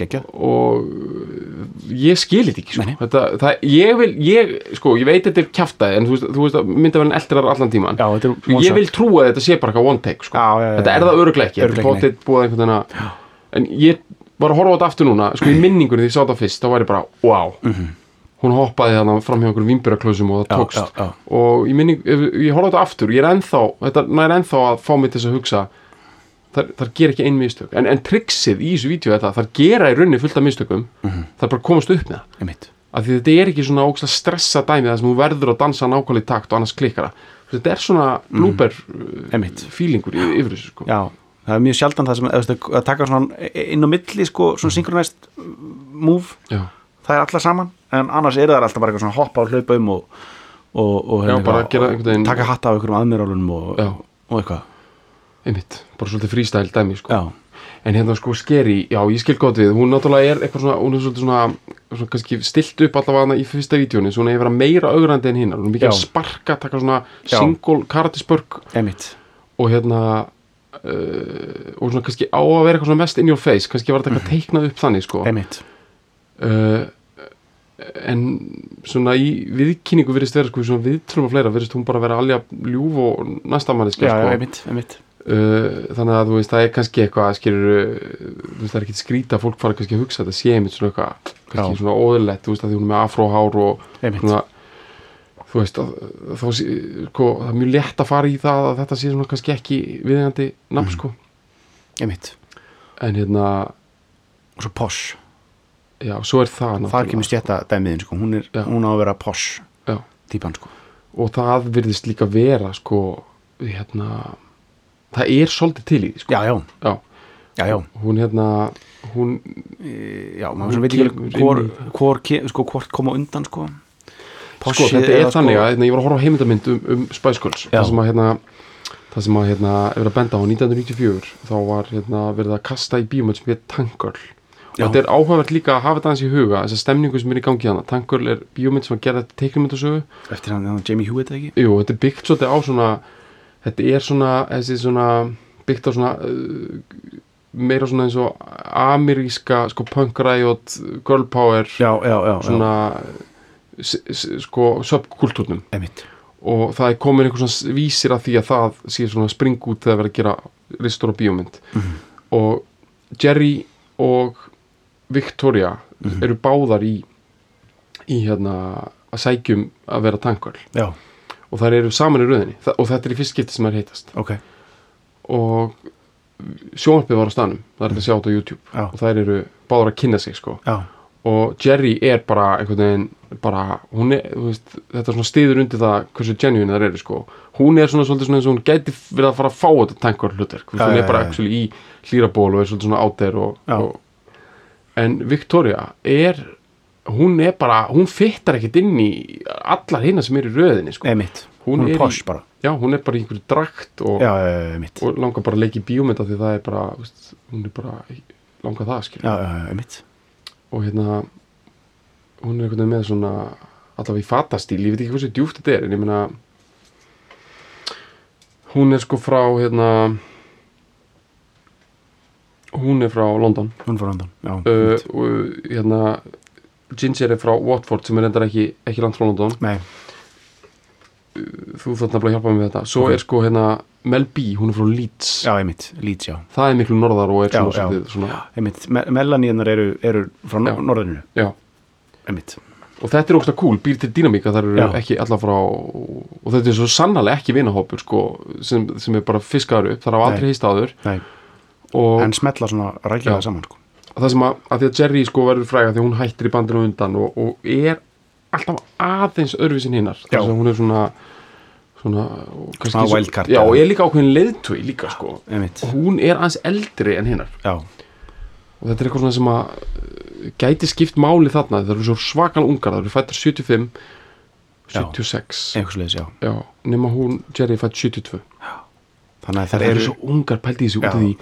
geggjað
og uh, ég skil þetta ekki sko.
Nei, nei.
þetta, það, ég vil, ég, sko, ég veit þetta er kjaftaði en þú veist, þú veist að myndavælinn eldrar allan tíman
Já, þetta er
Sko,
one
ég
shot.
vil trúa að þetta sé bara eitthvað one take sko.
Já, já, já,
þetta
já.
er það öruglega ekki, þetta er
Örugglega ekki,
potið búið einhvern veginn að en ég var að horfa á þetta aftur núna sko í minningunni því ég sá þetta fyrst, þá var ég bara wow,
Mhm.
hún hoppaði þannig fram hjá einhverjum vimburaklausum og það
Já,
tókst
já, já.
og ég, minning, ef, ég horfa á þetta aftur ég er ennþá, þetta nær ennþá að fá mig til þess að hugsa þar, þar gera ekki ein mistök en, en triksið í þessu vídeo er það þar gera í rauninni fullt af mistökum
Mhm.
þar bara komast upp með það
einmitt,
af því þetta er ekki svona ógst að stressa dæmi þar sem hún verður að dansa nákvæmlega í takt og annars klikkara þetta er svona blúber mm.
Mhm. Einmitt.
feelingur í, yfir þessu sko.
Já, það er mjög sjaldan það sem eða, þú veist, að taka svona inn á milli sko,
Mhm.
svona synchronized move
Já.
það er allar saman, en annars eru það alltaf bara eitthvað svona hoppa og hlaupa um og, og, og
Já, bara gera
og-
einhvern veginn-
taka hatta af einhverjum aðmyrálunum og,
Já.
og eitthvað
einmitt, bara svolítið freestyle dæmi sko.
Já,
en hérna sko skeri, já ég skil gott við hún náttúrulega er eitthvað svona, hún er svolítið svona, svona kannski stilt upp allavega hana í fyrsta vídjónu, svona ég vera meira augrandi en hinn hún er mikið
Já.
að sparka, taka svona
Já.
single karatisbörg
emitt
og hérna uh, og svona kannski á að vera eitthvað svona mest in your face, kannski var þetta eitthvað teiknað upp þannig sko
Emitt,
uh, en svona í viðkynningu virðist vera sko, í svona viðtölum og fleira virðist hún bara vera alveg að ljúf og næsta manni
já,
sko.
emitt, emitt
uh, þannig að þú veist það er kannski eitthvað að skilur þú veist það er ekkit skrýta að fólk fara kannski að hugsa að þetta sé einmitt svona eitthvað kannski
Já.
svona óðurlegt, þú veist að því hún er með afróhár og
Einmitt.
svona þú veist að þá sé, sko, það er mjög létt að fara í það að þetta sé svona kannski ekki viðegandi
Mhm.
nafn sko
Emitt,
en hérna,
og svo posh
já, svo er það
það
náttúrulega.
kemur stjætta dæmiðin sko. hún, er,
Já.
hún á að vera posh
Já.
típan sko.
og það virðist líka vera sko, hérna það er svolítið til í því sko
já, já,
Já.
já, já,
hún hérna, hún
já
Hún
maður svona veit ekki alveg
kemur
hvor,
inn
hvor, ke- sko, hvort koma undan sko.
sko,
Poshið
þetta er
eða,
þannig að hérna, ég var að horfa á heimildamind um, um Spice Girls
Já.
það sem að hérna það sem að hérna, ef við að benda á 1994 þá var hérna verið að kasta í bíómynd sem hétt Tank Girl og
Já.
þetta er áhugavert líka að hafa þetta hans í huga þessa stemningu sem er í gangi hana, Tank Girl er bíómynd sem að gera þetta teiknumyndasögu
eftir hann, hann Jamie Hewitt eða ekki
jú, þetta er byggt svolítið á svona þetta er svona, þessi svona byggt á svona uh, meira svona eins og ameríska sko punk riot, girl power
já, já, já, já.
svona s- s- sko subkulturnum
Einmitt.
og það er komin einhver svona s- vísir að því að það sé svona spring út þegar verið að gera ristur og bíómynd og Jerry og Victoria eru báðar í í hérna að sækjum að vera tankar
já,
og þær eru saman í röðinni Þa- og þetta er í fyrst skipti sem þær heitast
ok
og sjónvarpið var á stanum það er þetta að sjá þetta á YouTube
Já.
og þær eru báðar að kynna sig sko
já,
og Jerry er bara einhvern veginn bara, hún er, þú veist, þetta svona stiður undir það hversu genuine þær eru sko hún er svona svolítið svona eins og hún gæti verið að fara að fá þetta tankar hlutverk,
Já,
hún
já,
er bara
já, já.
actually í hlýraból og er svolítið svona out there og,
Já.
og en Victoria er hún er bara, hún fittar ekkert inn í allar hinna sem er í röðinni sko.
emitt hún,
er
er
í-
posh bara
já, hún er bara í einhverju drakt og,
já, já, já, emitt
og langar bara að leika í bíómynda því það er bara, þú veist, hún er bara langar það, skilur
já, já, já, emitt
og hérna hún er einhvern veginn með svona allavega í fatastíl, ég veit ekki hversu djúft þetta er en ég meina hún er sko frá hérna hún er frá London
hún fór andan já,
uh,
einmitt.
og hérna Ginger er frá Watford sem er endar ekki, ekki land frá London
nei,
þú þarf nefnilega að hjálpa mér með þetta svo
Ok.
er sko hérna Mel B, hún er frá Leeds
já, emitt, Leeds, já
það er miklu norðar og er
Já,
svona,
já.
svolítið svona
emitt, Me melaníunar eru, eru frá
Já.
já. norðinu
já.
emitt,
og þetta er ógst að cool, býr til dýnamík að það eru
Já.
ekki alla frá og þetta er svo sannlega ekki vinahópur sko, sem, sem er bara fiskaður upp það er á aldrei
Nei.
hýst áður
nei
og
en smetla svona rækilega
Já.
saman sko.
það sem að, að því að Jerry sko verður fræga því að hún hættir í bandinu á undan og, og er alltaf aðeins öðruvísin hinnar
Já.
þess að hún er svona svona, og kannski
Smá
svo-
wildcard,
já,
já.
og er líka ákveðin leiðtúi líka sko
emitt,
og hún er aðeins eldri en hinnar
já,
og þetta er eitthvað svona sem að uh, gæti skipt máli þarna það eru svo svakal ungar, það eru fættar 75
Já.
76
einhvers leiðis, já
Já, nema hún, Jerry fætt 72
þannig
Það
að það
eru
eru
svo ungar pældi í þessu út af
Já.
því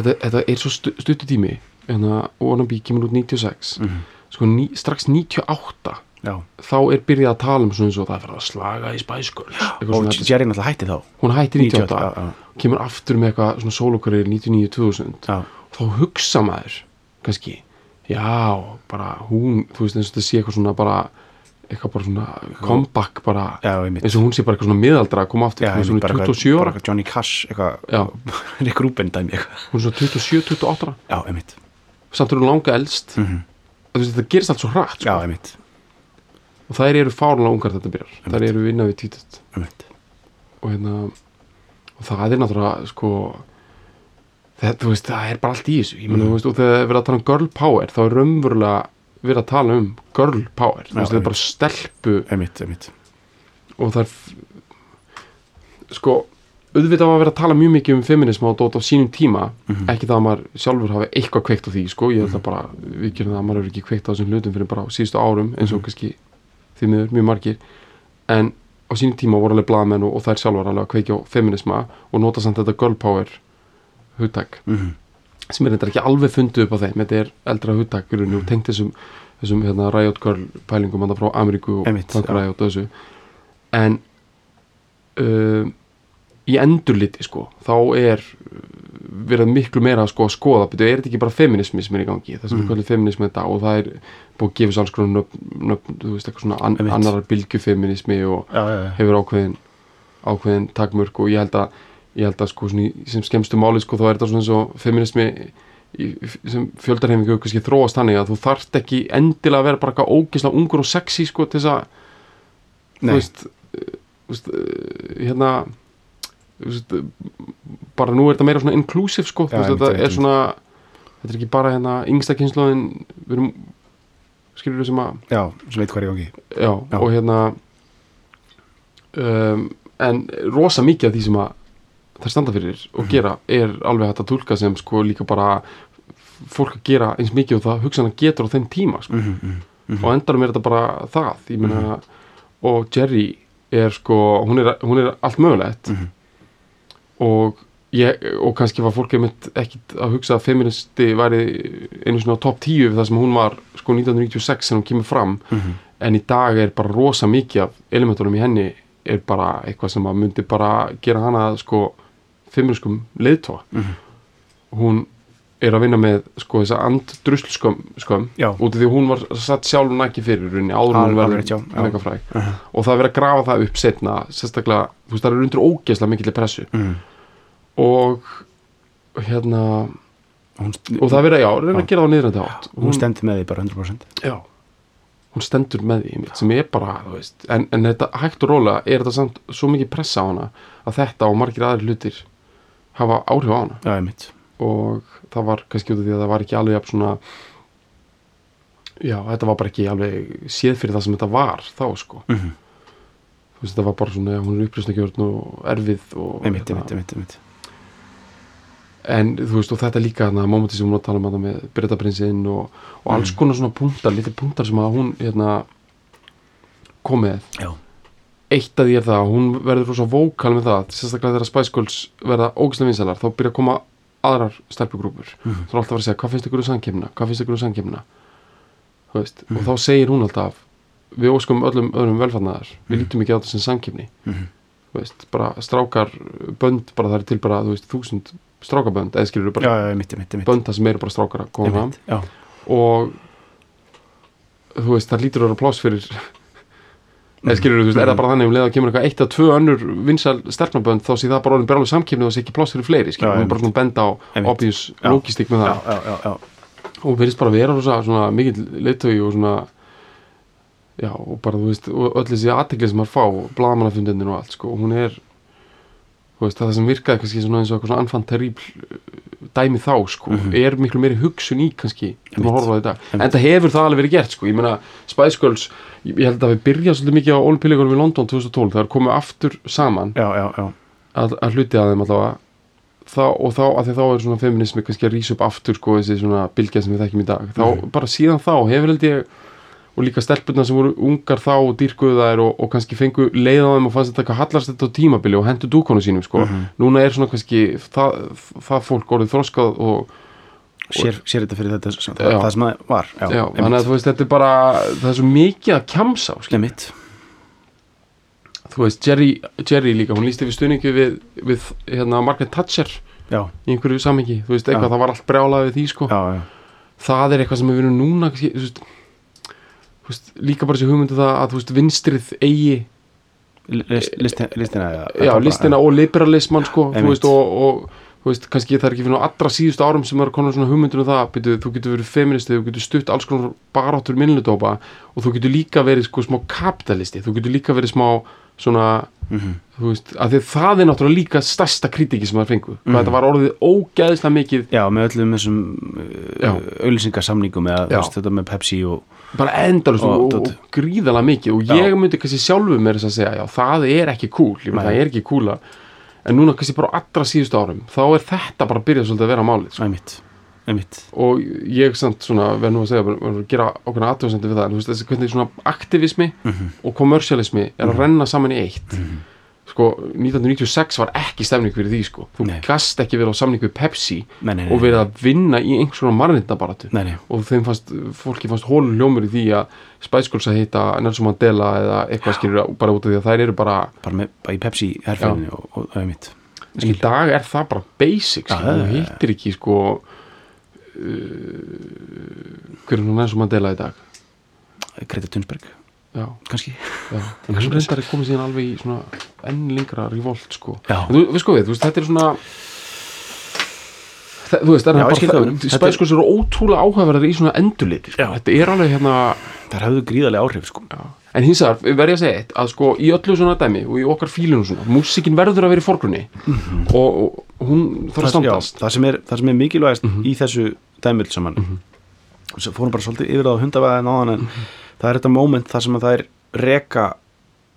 að þetta, þetta er svo stu, stuttu tími en að Wannabe kemur út 96
Mhm.
sko, ní, strax 98
já,
þá er byrjað að tala um svona eins og það er fyrir að slaga í Spice Girls eitthvað
og
svona þetta-
Jerry náttúrulega hætti þá
hún hættir 98,
98, já, já.
kemur aftur með eitthvað svona solokarriðir 99-2000
já,
þá hugsa maður kannski, já, bara hún, þú veist eins og þetta sé eitthvað svona bara eitthvað bara svona comeback bara
já, emitt
eins og hún sé bara eitthvað svona miðaldra að koma aftur hún
Já,
er
einmitt,
svona
bara eitthvað-
27
bara
ára
eitthvað Johnny Cash, eitthvað
já,
Rick Rubin dæmi eitthvað
hún er svona 27, 28 ára
já, emitt,
samt er hún langa elst mm -hmm. þetta gerist allt svo hratt sko.
Mhm. já, emitt,
og þær eru fárlega ungar þetta byrjar þær eru vinna við títut
emitt
og, hérna, og það er náttúrulega sko það, þú veist, það er bara allt í þessu Ég
Mhm.
meina, þú veist, og þegar það er verið að tala um girl power þá er raunverulega verið að tala um girl power, þú
Já,
veist, það er
einmitt.
bara stelpu
emitt, emitt,
og það er sko, auðvitað var að vera að tala mjög mikið um feminisma og dót á sínum tíma ekki það að maður sjálfur hafi eitthvað kveikt á því sko, ég ætla bara, við gerum það að maður hefur ekki kveikt á þessum hlutum fyrir bara á síðustu árum eins og kannski því miður mjög margir en á sínum tíma voru alveg blaðamenn og, og þær sjálfur alveg að kveikja á feminisma og nota samt þetta girl power hugtak
Mhm.
sem er þetta ekki alveg fundið upp á þeim þetta er eldra hugtak í rauninni og tengt þessum, þessum hérna, riot girl pælingum þarna frá Ameríku og
Einmitt,
punk
já.
riot og þessu en um, í endurliti sko, þá er uh, verið miklu meira að sko að skoða betur, er þetta ekki bara feminismi sem er í gangi það sem mm. er kvöldið feminismi þetta og það er búið að gefa sér alls konar nöfn, nöfn þú veist, eitthvað svona an,
Einmitt.
annarar bylgjufeminismi og
já, já, já.
hefur ákveðin ákveðin takmörk og ég held að ég held að sko svona í- sem skemmstu máli sko þá er þetta svona eins og feminismi í, sem fjöldarhefingu kannski þróast þannig að þú þarft ekki endilega að vera bara eitthvað ógislega ungur og sexy sko til þess að þú
Nei.
veist, eh, þú veist eh, hérna þú veist, eh, bara nú er þetta meira svona inclusive sko
Já,
þú veist,
einmitt,
þetta er
einmitt.
svona þetta er ekki bara hérna yngsta kynnslóðin við erum skilur sem að
já, sem veit hvað er í gangi
já,
Já.
og hérna um, en rosa mikið af því sem að það standa fyrir og gera er alveg hægt að tólka sem sko líka bara fólk að gera eins mikið og það hugsan að getur á þeim tíma sko.
mm -hmm.
og endarum er þetta bara það ég meina, og Jerry er sko, hún er, hún er allt mögulegt
Mhm.
og ég, og kannski var fólk einmitt ekkit að hugsa að feministi væri einu svona á topp 10 við það sem hún var sko 1996 sem hún kemur fram
Mhm.
en í dag er bara rosa mikið af elementunum í henni er bara eitthvað sem að myndi bara gera hana að sko feministkum leiðtóa
Mhm.
hún er að vinna með sko þessa andrusl skömm, skömm
Já.
út af því að hún var satt sjálf næki fyrir runni áður en hún
Al- alveg rétt, já, Uh-huh.
verður
já.
megafræk og það er verið að grafa það upp setna sérstaklega, þú veist það eru undir ógeðslega mikill pressu
Mhm.
og hérna
hún,
og það er verið að já, reyna
Já.
að gera það niðrandi átt
hún stendur með því bara 100%
já, hún stendur með því einmitt, sem er bara, þú veist en, en þetta hægt og rólega er þetta samt svo mikið pressa á hana að þetta og margir aðrir hlutir hafa áhrif á hana
já, ég mitt
og það var kannski út af því að það var ekki alveg jafn svona já, þetta var bara ekki alveg séð fyrir það sem þetta var þá sko
Mhm.
þú veist, þetta var bara svona, já, hún er upplýsnagjörn og erfið og
einmitt,
hérna,
einmitt, einmitt, einmitt.
en þú veist, og þetta líka þannig að mómenti sem hún var að tala um þetta með Bretaprinsinn og, og
Mm.
alls konar svona punktar, lítið punktar sem að hún hérna kom með
já,
eitt af því er það að hún verður rosa vókal með það sérstaklega þegar Spice Girls verða ógislega vinsalar þá byrja að koma aðrar stelpugrúpur
Mhm.
mm -hmm. þá er alltaf að vera að segja hvað finnst ykkur um samkemna hvað finnst ykkur um samkemna veist,
Mhm.
og þá segir hún alltaf við óskum öllum öðrum velfarnaðar við
Mhm.
lítum ekki á þetta sem samkemni Þú veist, bara strákar bönd bara það er til bara þú veist, þúsund strákabönd eða skilur
já,
bara
já, einmitt, einmitt, einmitt.
bönd það sem eru bara strákar að koma fram
einmitt. já,
og þú veist, það lítur að vera pláss fyrir eða skilur þú veist, er það bara þannig um leið að kemur eitthvað eitt að tvö önnur vinsal sterfnabönd þá sé það bara orðin berlega samkipni og það sé ekki pláss fyrir fleiri skilur,
Já,
hún er bara
einmitt.
svona benda á
Einmitt.
obvious
Já.
lókistik með
já,
það
já, já, já.
og hún verðist Sko, bara vera rosa, svona mikill leittögi og svona já, og bara þú veist, og öll þessi aðtekli sem maður fá, blaðamannafundinir og allt sko, hún er þú veist, það sem virkaði kannski svona eins og eitthvað svona anfant teríbl dæmi þá sko, er miklu meiri hugsun í kannski, þegar maður
Mhm. Einmitt.
horfa á þetta en það hefur það alveg verið gert sko, ég meina Spice Girls, ég ég held að við byrja svolítið mikið á olimpíleikunum í London 2012 það er komið aftur saman
já, já, já.
að, að hluti að þeim allavega þá, og þá, að því þá er svona feminismi kannski að rýsa upp aftur sko þessi svona bylgja sem við þekkjum í dag þá,
Mhm.
bara síðan þá hefur held ég og líka stelpurna sem voru ungar þá og dýrkuðu þær og, og kannski fengu leið á þeim og fannst þetta eitthvað hallast þetta á tímabili og hendur dúkonu sínum sko
Mhm.
núna er svona kannski það, það fólk orðið þroskað og
Sér, sér þetta fyrir þetta sem,
Já.
það, það sem það var já,
já, þannig að
einmitt,
þú veist þetta er bara það er svo mikið að kjamsa á sko.
einmitt.
þú veist, Jerry, Jerry líka, hún lísti við stuðningu við, við hérna, Margaret Thatcher
já,
í einhverju samengi, þú veist, eitthvað,
Já.
það var allt brjálað við því, sko,
já, já,
það er eitthvað sem við erum núna, kannski, þú veist, þú veist, líka bara þessi hugmyndu það að, þú veist, vinstrið eigi,
List, listin, listina já,
Eh, já, listina og liberalismann, sko, þú
Einmitt.
veist, og, og, þú veist, kannski það er ekki fyrir á allra síðustu árum sem er konar svona hugmyndunum það, byrju, þú getur verið feministi, þú getur stutt alls konar baráttur minnlutópa og þú getur líka verið, sko, smá kapitalisti, þú getur líka verið smá, svona, þú veist, að því að það er náttúrulega líka stærsta kritiki sem það fengu hvað þetta var orðið ógeðslega mikið
já, með öllum þessum
Já.
auðlýsingasamningum eða þú
Já.
veist, þetta með Pepsi og
bara endalust og,
Og
og,
dót.
og gríðalega mikið og
Já.
ég myndi kannski sjálfur mér þess að segja já, það er ekki cool, ég meina,
Nei.
það er ekki cool að en núna kannski bara á allra síðustu árum þá er þetta bara að byrja svolítið að vera málið sko.
einmitt, einmitt
og ég samt svona, verð nú að segja verð að gera okkur aðtöðsendur við það en þú veist þessi hvernig svona aktivismi
Mhm.
og kommersialismi er að renna saman í eitt sko, 1996 var ekki stemning fyrir því sko, þú
Nei.
gast ekki verið á samning við Pepsi
nei, nei, nei,
og verið að vinna í einhvers konar marrindabaratu
nei, nei.
og þeim fannst, fólki fannst hólun hljómur í því að Spice Girls að heita Nelson Mandela eða eitthvað skilur bara út af því að þær eru bara,
bara, með, bara í Pepsi herfæðinu og, og einmitt
í dag er það bara basic, skilur,
já,
þú
já, já.
hittir ekki sko uh, hver er nú Nelson Mandela í dag
Greta Thunberg,
já,
kannski
já, en hún reyndar er komið síðan alveg í svona enn lengra revolt sko
Já.
En þú, við sko við, þú veist, þetta er svona Þa, þú veist, það
Já, ég
er
skil hvað
bara
við erum. Þetta er-
Spice Girls eru ótrúlega áhæfverðar í svona endurliti sko.
Já.
þetta er alveg hérna
það höfðu gríðarlega áhrif sko.
En hins vegar verð ég að segja eitt að sko í öllu svona dæmi og í okkar fílunum svona músikin verður að vera í forgrunni og, og hún þarf að
Mhm. það, já,
standast Mhm.
það, sem er, það sem er mikilvægast í þessu dæmul saman mm -hmm. fórum bara svolítið yfir það á hundavaðin áðan en
Mhm.
það er þetta moment þar sem að það er reka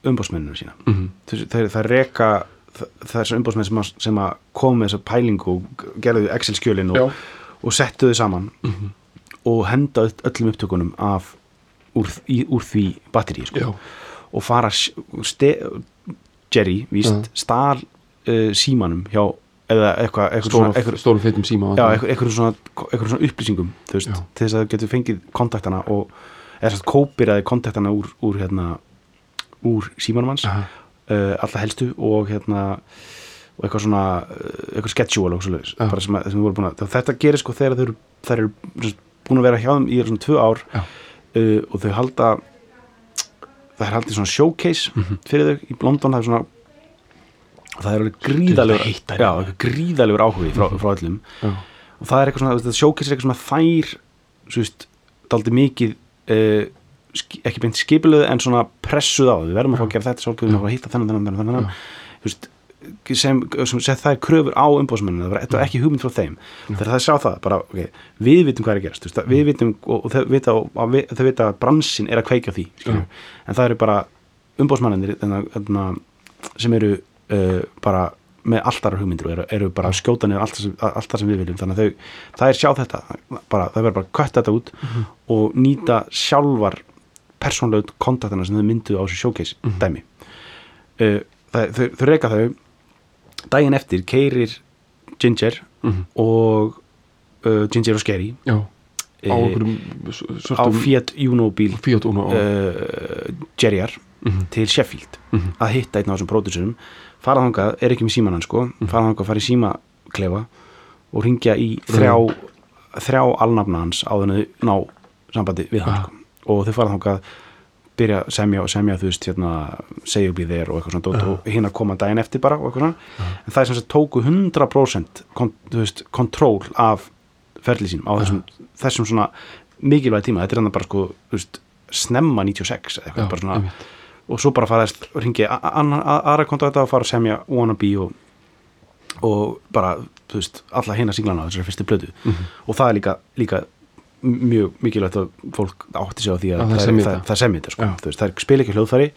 umbósmenninu sína
mm
Þessi- þeir, það reka þ- þessar umbósmenn sem, að- sem að kom með þessa pælingu og gerðu Excel skjölin
Já. Mhm.
og, og settu þau saman og henda öll- öllum upptökunum af úr, þ- í, úr því batteri
Já.
sko. og fara s- ste, Jerry víst,
Já.
stal uh, símanum hjá eða eitthvað eitthvað
Stórum,
svona- eitthvað-
stórum feitum síma
já, einhver- einhverjum svona, einhverjum svona upplýsingum þú veist,
Já.
til þess að þau getur fengið kontaktana og eða svona kópiraði kontaktana úr, úr hérna úr símanmanns, uh,
Aha.
alla helstu og hérna og eitthvað svona, uh, eitthvað schedule og svoleiðis,
Já.
bara sem, að- sem við vorum búin að þá þetta gerir sko þegar þau eru, þær eru sem sagt búin að vera hjá þeim í svona tvö ár
Já.
uh, og þau halda það er haldið svona showcase
Mhm.
fyrir þau í London, það er svona og það er alveg gríðalegur
heitt þær.
já, alveg gríðalegur áhugi frá, frá öllum
já,
og það er eitthvað svona, þetta showcase er eitthvað svona fær svo veist, daldi mikið uh, ekki beint skipiluð en svona pressuð á, við verðum að fá að gera þetta showcase, við verðum að fara að hitta þennan, þennan, þennan, þennan þú veist, sem, sem sett þær kröfur á umbóðsmennina, það var eitthvað ekki hugmynd frá þeim þegar það sá það, bara, ok, við vitum hvað er að gerast, þú veist, við vitum og, og þau vita, og, við, þau vita að bransin er að kveikja á því skilur, en það eru bara umbóðsmennir sem eru uh, bara með alltaf hugmyndir og eru, eru bara að skjóta niður allt það sem, allt það sem við viljum þannig að þau, það er sjá þetta bara, það verður bara að kötta þetta út og nýta sjálfar persónlaut kontaktana sem þau mynduðu á þessu showcase dæmi uh, það, þau, þau reyka þau daginn eftir keirir Ginger og uh, Ginger og Skerry
já
eh,
á einhverjum s-
á
svörtum
Fiat Uno bíl
fíat og
uh, Jerryar til Sheffield að hitta einn af þessum pródussurum fara þangað, er ekki með síman hans sko fara þangað, fara í símaklefa og ringja í þrjá þrjá alnafna hans á þenni ná sambandi við hann
Ah.
sko. og þau fara þangað byrja að semja og semja þú veist hérna segja upp í þeir og eitthvað svona dót og hinn að koma daginn eftir bara og eitthvað svona en það er sem sagt tóku 100% kon, þú veist, kontról af ferli sínum á þessum, þessum svona mikilvæg tíma, þetta er hann bara sko þú veist, snemma 96 eða eitthvað
Já,
bara svona,
einmitt.
og svo bara fara þess og ringi aðra konta þetta og fara að semja wannabe og, og bara, þú veist, alla hina singlana á þessari fyrstu blödu
Mhm.
og það er líka, líka mjög mikilvægt að fólk átti sig á því að
Að það
það,
semji
það,
þetta.
það semja þetta sko.
Já. Mhm.
Þú veist, það er spil ekki hljóðfæri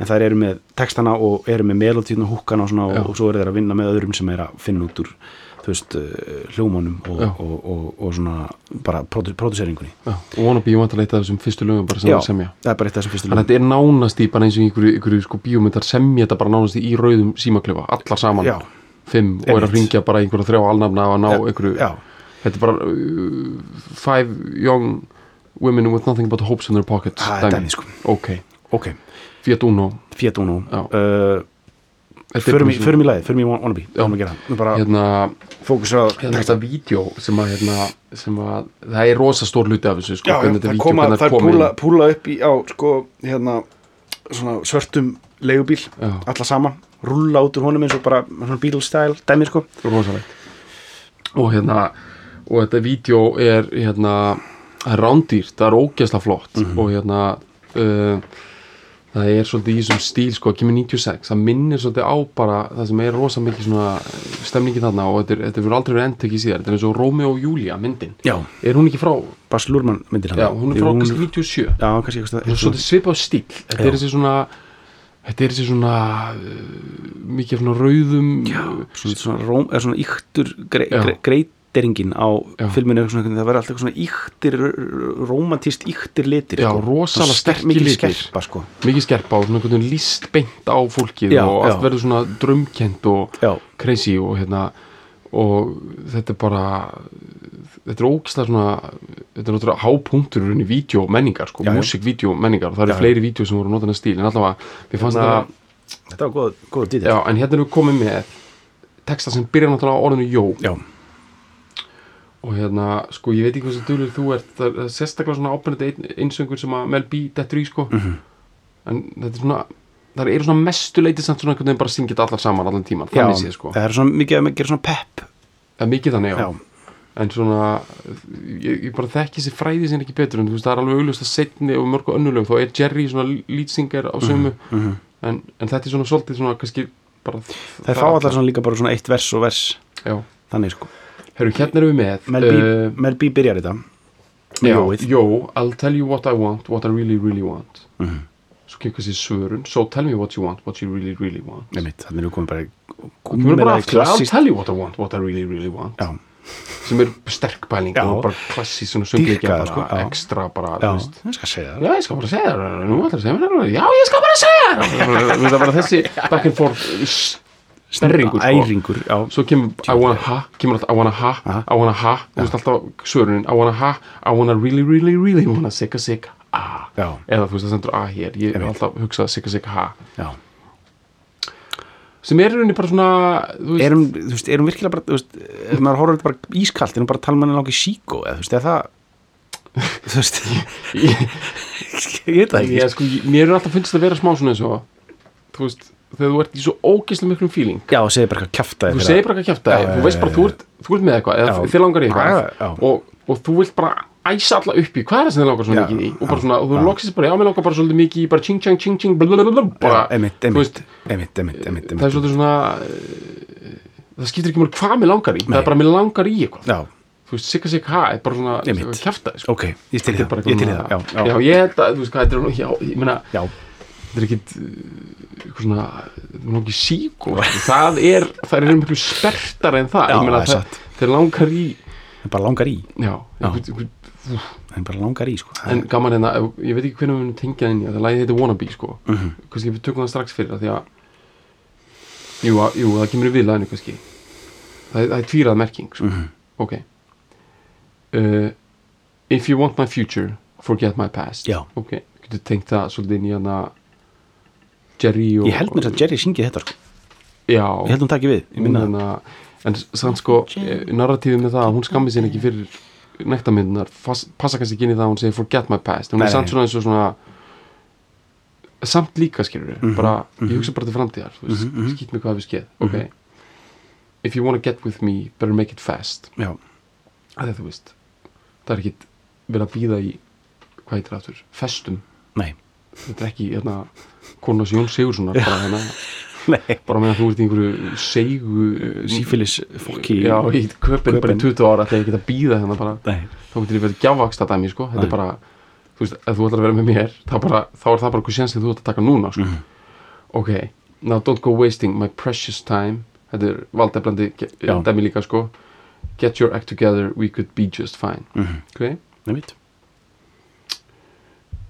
en það eru með textana og eru með melodíun og húkkan og svona
Já.
og, og svo eru þeir að vinna með öðrum sem er að finna út úr þú veist, eh, hljómanum og,
Já.
og, og, og, svona bara produ- próduseringunni
og wannabe ég vant að leita þessum fyrstu lögum bara sem
Já,
það semja
það er bara eitt af þessum fyrstu
þannig að
lögum
þetta er nánast í bara eins og í einhverju, einhverju sko bíómyndar semja þetta bara nánast í rauðum símaklefa allar saman,
Já.
fimm og er að
Einmitt.
ringja bara í einhverja þrjá alnafna að ná einhverju
Já,
Þetta er bara uh, Five young women with nothing but hopes in their pockets
Það er dæmið, sko.
Ok,
ok,
Fiat Uno
Fiat Uno
Já.
uh,
Þetta er
förum, í,
bara svona-
förum í lagið, förum í Wan- Wannabe Já, að gera það Nú bara
Hérna,
fókus á
hérna þetta vídeo sem að, hérna, sem að það er rosa stór hluti af þessu sko,
Já, já,
hvernig þetta
það
vídeó,
koma,
hvernig
það
kom inn.
púla, púla upp í á, sko, hérna svona svörtum leigubíl
Já.
alla saman, rúlla út úr honum eins og bara svona Beatles style, dæmi sko
rosalegt og hérna og þetta vídeo er hérna það er rándýrt, það er ógeðslega flott og hérna uh, það er svolítið í þessum stíl sko að kemur 96, það minnir svolítið á bara það sem er rosa mikið svona stemningi þarna og þetta, er, þetta fyrir aldrei verið endtekið síðar þetta er eins og Romeo og Julia myndin
Já,
er hún ekki frá,
Bas Lurman myndir hann
já, hún er frá
Jú,
kannski 97
Já, kannski eitthvað
svolítið svipað stíl þetta
Já.
er þessi svona Þetta er þessi svona uh, mikið af svona rauðum uh,
svona, svona, róm, eða svona íktur gre,
Já.
gre, greiteringin á
Já.
filminu er svona, það verður alltaf eitthvað svona íktir romantist íktir litir
Já,
sko.
rosalega
Svona sterk-
sterkir
mikil
litir.
skerpa, sko.
mikið skerpa og svona einhvern veginn líst beint á fólkið
Já,
og allt
já.
verður svona drömkend og
Já.
crazy og hérna og þetta er bara þetta er ógislega svona þetta er náttúrulega hápunktur í rauninni vídeo menningar sko,
Já, já.
músík vídeo menningar og það eru
Já, Hérna- já.
fleiri vídeo sem voru að nota þennan stíl en allavega, við fannst þetta
þetta var góð, góð dýtir
Já, en hérna erum við komið með texta sem byrja náttúrulega á orðinu jó
Já.
og hérna, sko, ég veit ekki hversu dulur þú ert það er það er sérstaklega svona ábyrnandi ein, einsöngur sem að Mel B dettur í, sko
Mhm.
en þetta er svona það eru svona mestu leitið samt svona einhvern veginn bara að syngja þetta allar saman allan tíman,
Já,
þannig séð, sko
það er svona mikið að gera svona pepp
en mikið þannig, já,
Já.
en svona ég, ég bara þekki þessi fræði sem ekki betur en þú veist, það er alveg augljóst að setni og mörgu önnulög þá er Jerry svona lýtsingar á sömu
Mhm,
en, en þetta er svona svolítið svona kannski bara
það fá allar svona líka bara svona eitt vers og vers
já
þannig sko
Herru, hérna erum við með
Mel B,
eh,
Mel B byrjar þetta
já,
Jóið.
Jó, I'll tell you what I want, what I really, really want
Mhm.
Svo kemur þessi svörun So tell me what you want, what you really, really want
Nei mitt, þannig erum við komin bara
Hún er
með
bara
það í
aftur, I'll
klassískt-
tell you what I want, what I really, really want
Já,
Sem er sterk bæling
Já.
og bara klassís svona söngleikja bara,
Dýrkaðar, sko, já.
Ekstra bara,
já,
þú veist
ég skal segja það
Já, ég skal bara segja það, nú ætlar að segja mér það Já, ég skal bara segja það Þú veist, Það var þessi back and forth Snerringur, sko.
Æringur, já,
Svo kemur I wanna ha, kemur alltaf I wanna ha,
Aha.
I wanna ha Þú veist alltaf svörunin, I wanna ha I wanna really, really, really wanna sigga sigga a
já,
Eða þú veist það sendur a hér Ég er
Einmitt.
alltaf hugsað sigga sigga ha
já
Sem er í rauninni bara svona þú veist,
Erum, þú veist, erum virkilega bara, þú veist ef maður horfður þetta bara ískalt, erum bara að tala manni langi síkó, eða þú veist, eða það þú veist,
ég,
ég veit það
ég,
ekki
sko, ég, Mér er alltaf finnst það vera smá svona eins og Þú veist, þegar þú ert í svo ógeðslega miklum feeling
Já, segir bara eitthvað kjafta
Þú segir bara ekki kjæft að
Já, já,
Þú veist
já,
bara,
já,
þú ert, þú ert með eitthvað Eða
Já.
þið langar í
Já, já.
eitthvað og, og þú vilt bara æsa alla upp í Hvað er það sem þið langar svona
Já,
mikið í Og bara
já,
svona, og þú
já.
loksist bara Já, mér langar bara svolítið mikið í Bara ching, chang, ching, ching blablabla, Bara,
Emitt,
þú veist,
emitt, emitt, emitt, emitt
það er svolítið svona eh, Það skiptir ekki mjög hvað mér langar í Það er bara mér langar í eitthvað
Já,
Þú veist, sikka sikka ha Er bara
Einmitt.
svona kjæft að
ok, ég til í
Bara
það, ég til í það,
eitthvað svona-
já,
já,
já
ég held að, þú veist hvað, þetta er, já, ég meina,
Já,
þetta er ekkit, uh, eitthvað svona, þetta er ekki síkó, það er, það er miklu spertar en það,
Já,
ég meina,
það er
það,
satt.
þeir langar í,
það bara langar í
já,
Já.
einhvern- einhvern-
það er bara langar í, sko
en gaman hérna, ef- ég veit ekki hvernig við munum tengja það inn í það, það lagið heitir Wannabe, sko,
Mhm.
kannski við tökum það strax fyrir það, því að, jú, að, jú, það kemur í viðlæðinu kannski, það, er- það er tvírað merking, sko,
Mhm.
ok, uh, if you want my future, forget my past,
Já.
ok, getur tengt það svolítið inn í hana, Jerry og
Ég held mér að Jerry syngið þetta, sko
Já,
Ég held hún takki við, ég minna það
hérna, en samt sko eh, narratífið með það að hún skammi sér ekki fyrir nektarmyndunar, passa kannski ekki inn í það að hún segir forget my past, hún
Nei,
er samt
nei.
svona eins og svona samt líka skilur við,
Mhm,
bara, ég hugsa bara til framtíðar þú veist, skýt mig hvað við skeið, ok if you wanna get with me, better make it fast
Já,
að þetta, þú veist það er ekki verið að býða í hvað heitir það aftur, festum
nei,
þetta er ekki, hérna, konas Jón Sigurssonar bara hérna,
nei
bara meðan þú ert í einhverju seigu eh,
Sífélis fólki
já, í köpinn bara í
Kaupin.
20 ára ætla ég ekki að býða hérna bara
Nei,
þá getur ég verið gjafvaksta dæmi sko. þetta
Nei.
er bara, þú veist, ef þú ætlar að vera með mér þá, bara, þá er það bara eitthvað sjansið þú ætlar að taka núna sko.
Mhm.
ok, now don't go wasting my precious time þetta er valdeflandi ge-
Já.
dæmi líka sko. get your act together, we could be just fine
Mhm.
ok,
nei mitt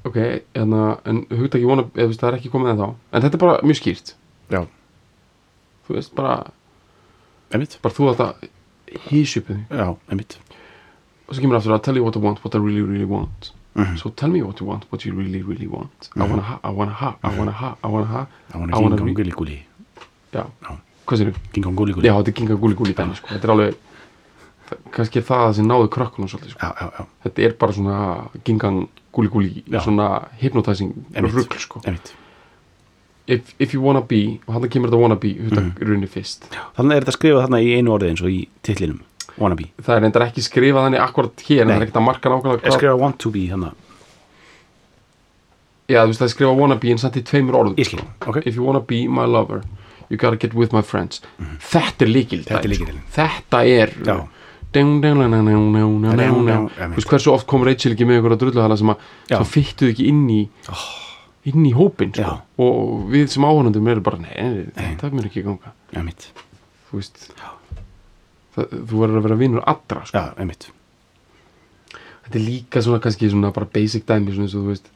ok en, en hugtaki vona, eða þú veist, það er ekki komið en þá en þetta er bara mjög skýrt
Já,
þú veist, bara,
nei mitt
bara þú ætlar að hísjöpu þig
Já, nei mitt
og svo kemur aftur að tell you what I want, what I really really want
Mhm.
so tell me what you want, what you really really want I wanna ha, I wanna ha, I wanna ha, I wanna ha
Það var
I wanna
ekki
re-
ganguli gúli
já,
Já.
hvað sér
King Kong Gully Gully
já, þetta er kinga gúli gúli dæmi sko. þetta er alveg, það- kannski er það sem náðu krökkunum svolítið, sko.
já, já, já,
þetta er bara svona gingang gúli gúli
Já.
svona hypnotizing
Einmitt.
rugl sko.
einmitt
if, if you wanna be, og hann kemur þetta wanna be hútt að runni fyrst
Þannig er þetta skrifað þarna í einu orði eins og í titlinum Wannabe
það er reyndar ekki skrifað þannig akkurat hér en
Nei.
það er ekkert að marka nákvæmlega
Er
hvað
skrifað want to be þannig
já, þú veist það er skrifað wanna be en samt í tveimur orðum sko.
Ég skil, ok
if you wanna be my lover you gotta get with my friends þetta er líkildæmi
Mhm. Þetta er
sko.
lykillinn.
þetta er
Já.
Deng, deng, deng, deng, deng, deng, deng, deng,
já,
deng. Þú
einmitt.
veist hversu oft kom Rachel ekki með einhverja drulluhala sem að
Já.
Oh. það fyttuð ekki inn í inn í hópin sko.
Já.
og við sem áhörnandum erum bara nei, þetta er mér ekki að ganga
já, mitt
þú veist
Já.
það, þú verður að vera vinur allra sko.
já, einmitt
þetta er líka svona kannski svona bara basic dæmi svona eins og þú veist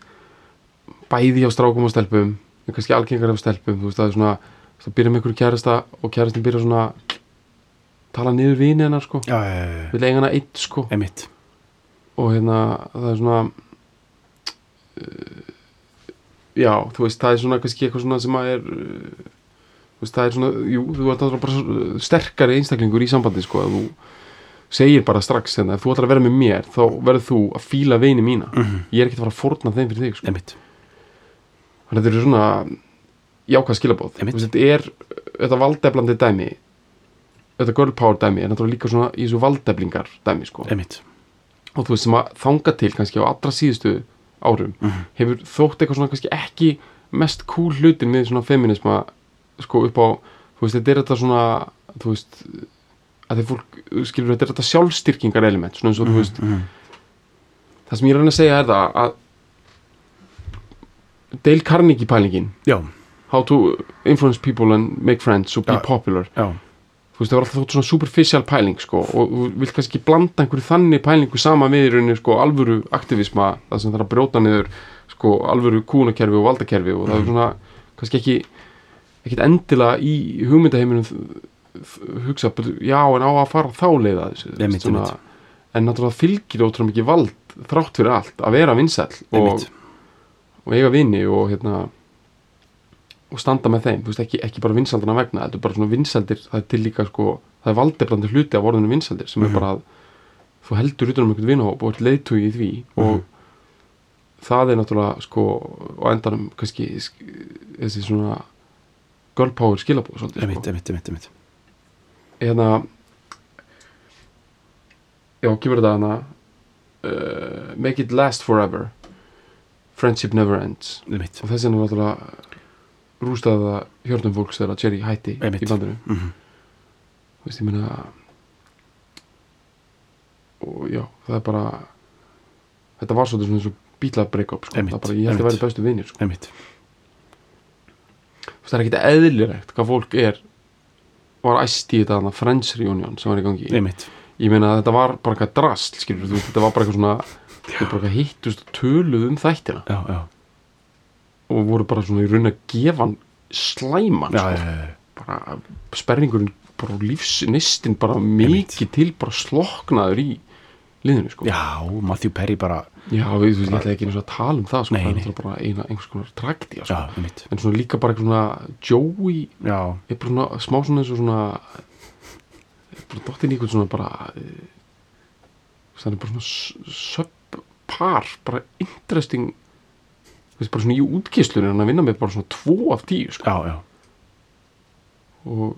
bæði hjá strákum og stelpum en kannski algengar af stelpum þú veist það er svona það byrja með einhverju kærasta og kærastin byrja svona tala niður vini hennar sko
já, já, já, já,
við leigan hana eitt sko
einmitt
og hérna það er svona uh, já þú veist það er svona kannski eitthvað svona sem að er uh, þú veist það er svona jú þú ert náttúrulega bara svo- sterkari einstaklingur í sambandi sko að þú segir bara strax hérna ef þú ætlar að vera með mér þá verður þú að fíla veini mína
Mhm.
ég er ekkert að fara að forna þeim fyrir þig sko.
einmitt,
þannig að þetta eru svona jákvæð skilabóð Þú
Einmitt.
veist, þetta er þetta valdeflandi dæmi þetta girl power dæmi er náttúrulega líka svona í þessu valdeflingar dæmi sko
einmitt
og þú veist sem að þanga til kannski á allra síðustu árum hefur þótt eitthvað svona kannski ekki mest cool hlutin með svona feminisma sko upp á, þú veist, þetta er þetta svona þú veist að þeir fólk, skilur þetta er þetta sjálfstyrkingar element, svona eins og
Mhm.
þú veist það sem ég er að reyna að segja er það að Dale Carnegie pælingin
já,
how to influence people and make friends so be
Já.
popular
já,
þú veist, það var alltaf þótt svona superficial pæling sko, og þú vilt kannski blanda einhverju þannig pælingu sama með í rauninni sko, alvöru aktivisma, það sem það er að brjóta niður sko, alvöru kúnakerfi og valdakerfi og
Mm.
það er svona kannski ekki ekkit endilega í hugmyndaheiminum þ- þ- hugsa, bara, já en á að fara þá leiða þessu þú
Einmitt,
veist, svona, en náttúrulega fylgir ótrúlega mikið vald þrátt fyrir allt að vera vinsæll og,
einmitt
og eiga vini og hérna og standa með þeim, þú veist, ekki, ekki bara vinsaldana vegna, þetta er bara svona vinsaldir það er til líka sko, það er valdebrandi hluti af orðinu vinsaldir sem er bara að þú heldur utan um einhvern vinahóp og ert leiðtugi í því og það er náttúrulega sko á endanum kannski sk- þessi svona girl power skilabóð svolítið sko.
einmitt, einmitt, einmitt, einmitt
hérna já, kemur þetta hana uh, make it last forever friendship never ends
einmitt,
og þessi er náttúrulega rústaða hjörnum fólks þegar að Jerry hætti
Einmitt.
í bandinu
Mhm.
þú veist, ég meina og já, það er bara þetta var svolítið svona eins og bíla break-up sko.
Einmitt,
það er bara, ég held að
einmitt.
væri bestu vinir sko.
einmitt
Þú veist, það er ekkit eðlilegt hvað fólk er var æst í þetta hana Friends reunion sem var í gangi
einmitt,
ég meina þetta var bara eitthvað drast skilur þú, veist, þetta var bara eitthvað svona þau bara eitthvað hittust og töluðu um þættina
já, já,
og voru bara svona í raun að gefa hann slæman
já,
sko.
já, já, já.
bara sperringurinn bara lífsnistin bara mikið til bara sloknaður í liðinu sko.
já, Matthew Perry bara sko.
já við, þú veist, ég ætla ekki einu sinni að tala um það sko.
Nei,
það er
nei.
náttúrulega bara eina, einhvers konar tragedi sko.
já, einmitt,
en svona líka bara eitthvað svona Joey
já,
er bara svona, smá svona eins og svona er bara dottin í einhvern svona bara eh, það er bara svona s- subpar bara interesting þú veist, bara svona í útgeislunum hann að vinna með bara svona 2 af 10 sko.
já, já,
og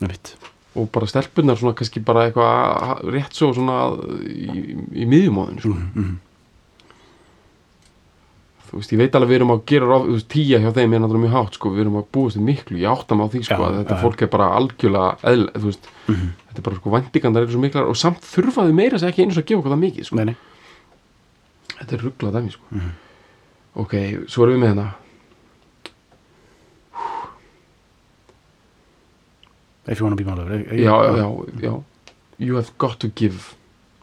einmitt
og bara stelpunar svona kannski bara eitthvað rétt svo svona í, í miðjumóðinu
Mhm,
sko. þú veist, ég veit alveg við erum að gera ráð, þú veist, tíja hjá þeim er náttúrulega mjög hátt sko, við erum að búast við miklu, ég átta mig á því sko,
Já,
að þetta
já. Mhm.
fólk er bara algjörlega eðl, þú veist, þetta er bara sko væntingandar eru svo miklar og samt þurfa þau meira sem ekki eins og að gefa okkur það mikið sko.
nei, Mhm. nei,
þetta er rugglað dæmi sko. ok, svo erum við með hérna
if you wanna be my lover eh, eh,
já, já, já, you have got to give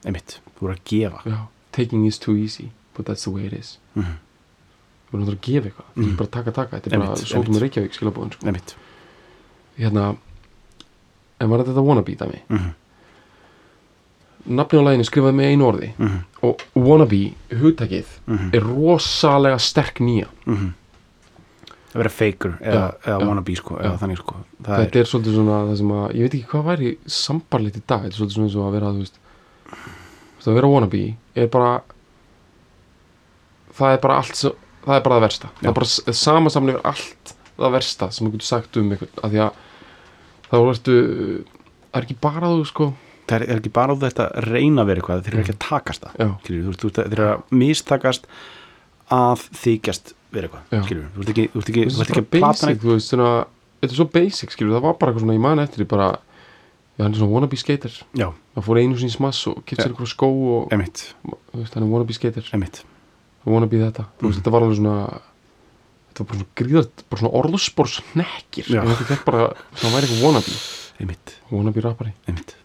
einmitt, þú voru að gefa
já, taking is too easy but that's the way it is
Mhm.
við erum náttúrulega að gefa eitthvað mm. bara taka taka, þetta er bara
Einmitt,
sótum í
einmitt.
Reykjavík skilabóðin sko.
einmitt,
hérna, en var þetta wannabe dæmi
Mhm.
nafni á læginu skrifaði með einu orði
Mhm.
og wannabe hugtakið
Mhm.
er rosalega sterk nýja
að vera faker eða, eða
já.
wannabe sko, eða þannig sko það
þetta er svolítið svona það sem að ég veit ekki hvað væri sambarlegt í dag þetta er svolítið svona eins og að vera þú veist, þú veist, að vera wannabe er bara það er bara allt sem- það er bara það versta það
Já.
er bara s- sama samlega yfir allt það versta sem þú getur sagt um einhvern af því að þá ertu það er ekki bara þú sko
það er, er ekki bara á þetta að reyna að vera eitthvað þeir eru ekki að takast það
Já.
skilur, þú, veist, þú, veist, þeir eru að mistakast að þykjast vera
Já.
eitthvað skilur, þú ert ekki, þú ert ekki, þú ert
þetta
ekki
er
að
bara
plata
basic,
neitt
þú veist svona, þetta er svo basic skilur, það var bara eitthvað svona, ég man eftir því bara já, hann er svona wannabe skater
já,
hann fór einu sinni í smass og kipt sér einhverja skó og
emitt,
þú veist, hann er wannabe skater
emitt
wannabe þetta, þú veist, þetta var alveg svona það var bara svona gríðast bara svona orðspors nekkir
Já.
ég veit ekki þetta bara, það væri eitthvað wannabe
einmitt,
wannabe rappari
einmitt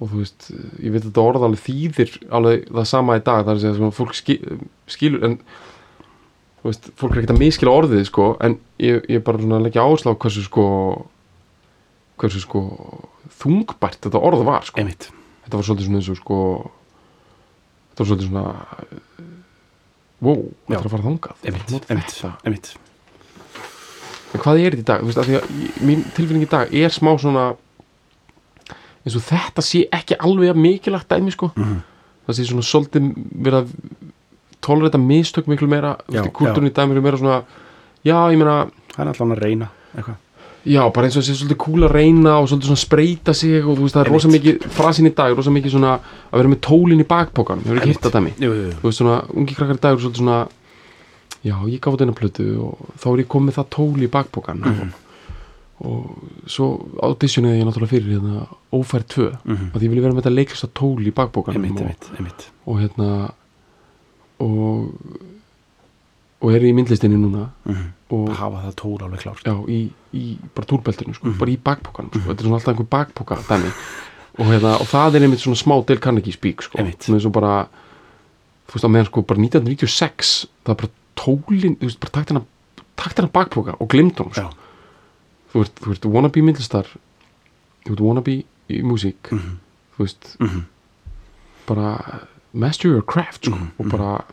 og þú veist, ég veit að þetta orð alveg þýðir alveg það sama í dag það er að segja svona fólk skil, skilur en þú veist, fólk er ekkert að miskila orðið sko, en ég, ég er bara svona að leggja áherslu á hversu sko hversu sko þungbært þetta orð var sko
einmitt,
þetta var svolítið svona eins og sko þetta var svolítið svona eh, wow,
Já.
þetta er að fara þangað
einmitt,
Nota
einmitt,
þetta.
einmitt.
en hvað er þetta í dag, þú veist, af því að ég- mín tilfinning í dag er smá svona eins og þetta sé ekki alveg að mikilagt dæmi sko
Mhm.
það sé svona svolítið verið að tólera þetta mistök miklu meira
Já,
kultúrun í dag miklu meira svona já, ég meina,
það er allan að reyna eitthvað,
já, bara eins og það sé svolítið kúl að reyna og svolítið svona spreita sig og þú veist, það er
Einmitt.
rosa mikið, frasin í dag er rosa mikið svona að vera með tólin í bakpokan, hefur ekki
Einmitt.
hitt að dæmi
jú, jú, jú.
þú veist svona, ungi krakkar í dag eru svolítið svona já, ég gaf út eina plötu og þá er ég komið það tól í bakbókan
Mhm.
og, og svo auditionaði ég náttúrulega fyrir hérna ófær 2,
Mhm.
að ég vilja vera með þetta leiklista tól í bakbókan og,
einmitt, einmitt, einmitt
og hérna og og er í myndlistinni núna
Mhm.
og
hafa það tól alveg klárt
já, í, í bara túrbeltinu,
Mhm.
sko, bara í bakbókanum sko. þetta er svona alltaf einhver bakbóka dæmi og, hérna, og það er einmitt svona smá Dale Carnegie speak sko,
Einmitt.
svona eins og bara þú veist að meðan sko, bara 1996 það er bara tólin, þú veist, bara takt hennar takt hennar bakbóka og glimt honum sko.
já,
þú, ert, þú ert wannabe myndlistar þú ert wannabe í músík þú veist,
Mhm.
bara master your craft, sko,
Mhm,
og bara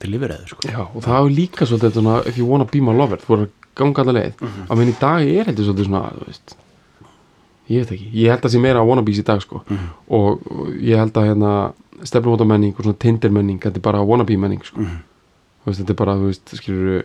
til lifiræðu sko
Já, og það er líka svolítið þetta svona if you wanna be my lover, þú voru að ganga alla leið mm -hmm. að minn í dag er heldur svolítið svona þú veist, ég veit ekki, ég held að sé meira wannabes í dag sko og, og ég held að hérna stefnumóta menning og svona Tinder menning, þetta er bara wannabe menning sko, þú veist, þetta er bara þú veist, skilur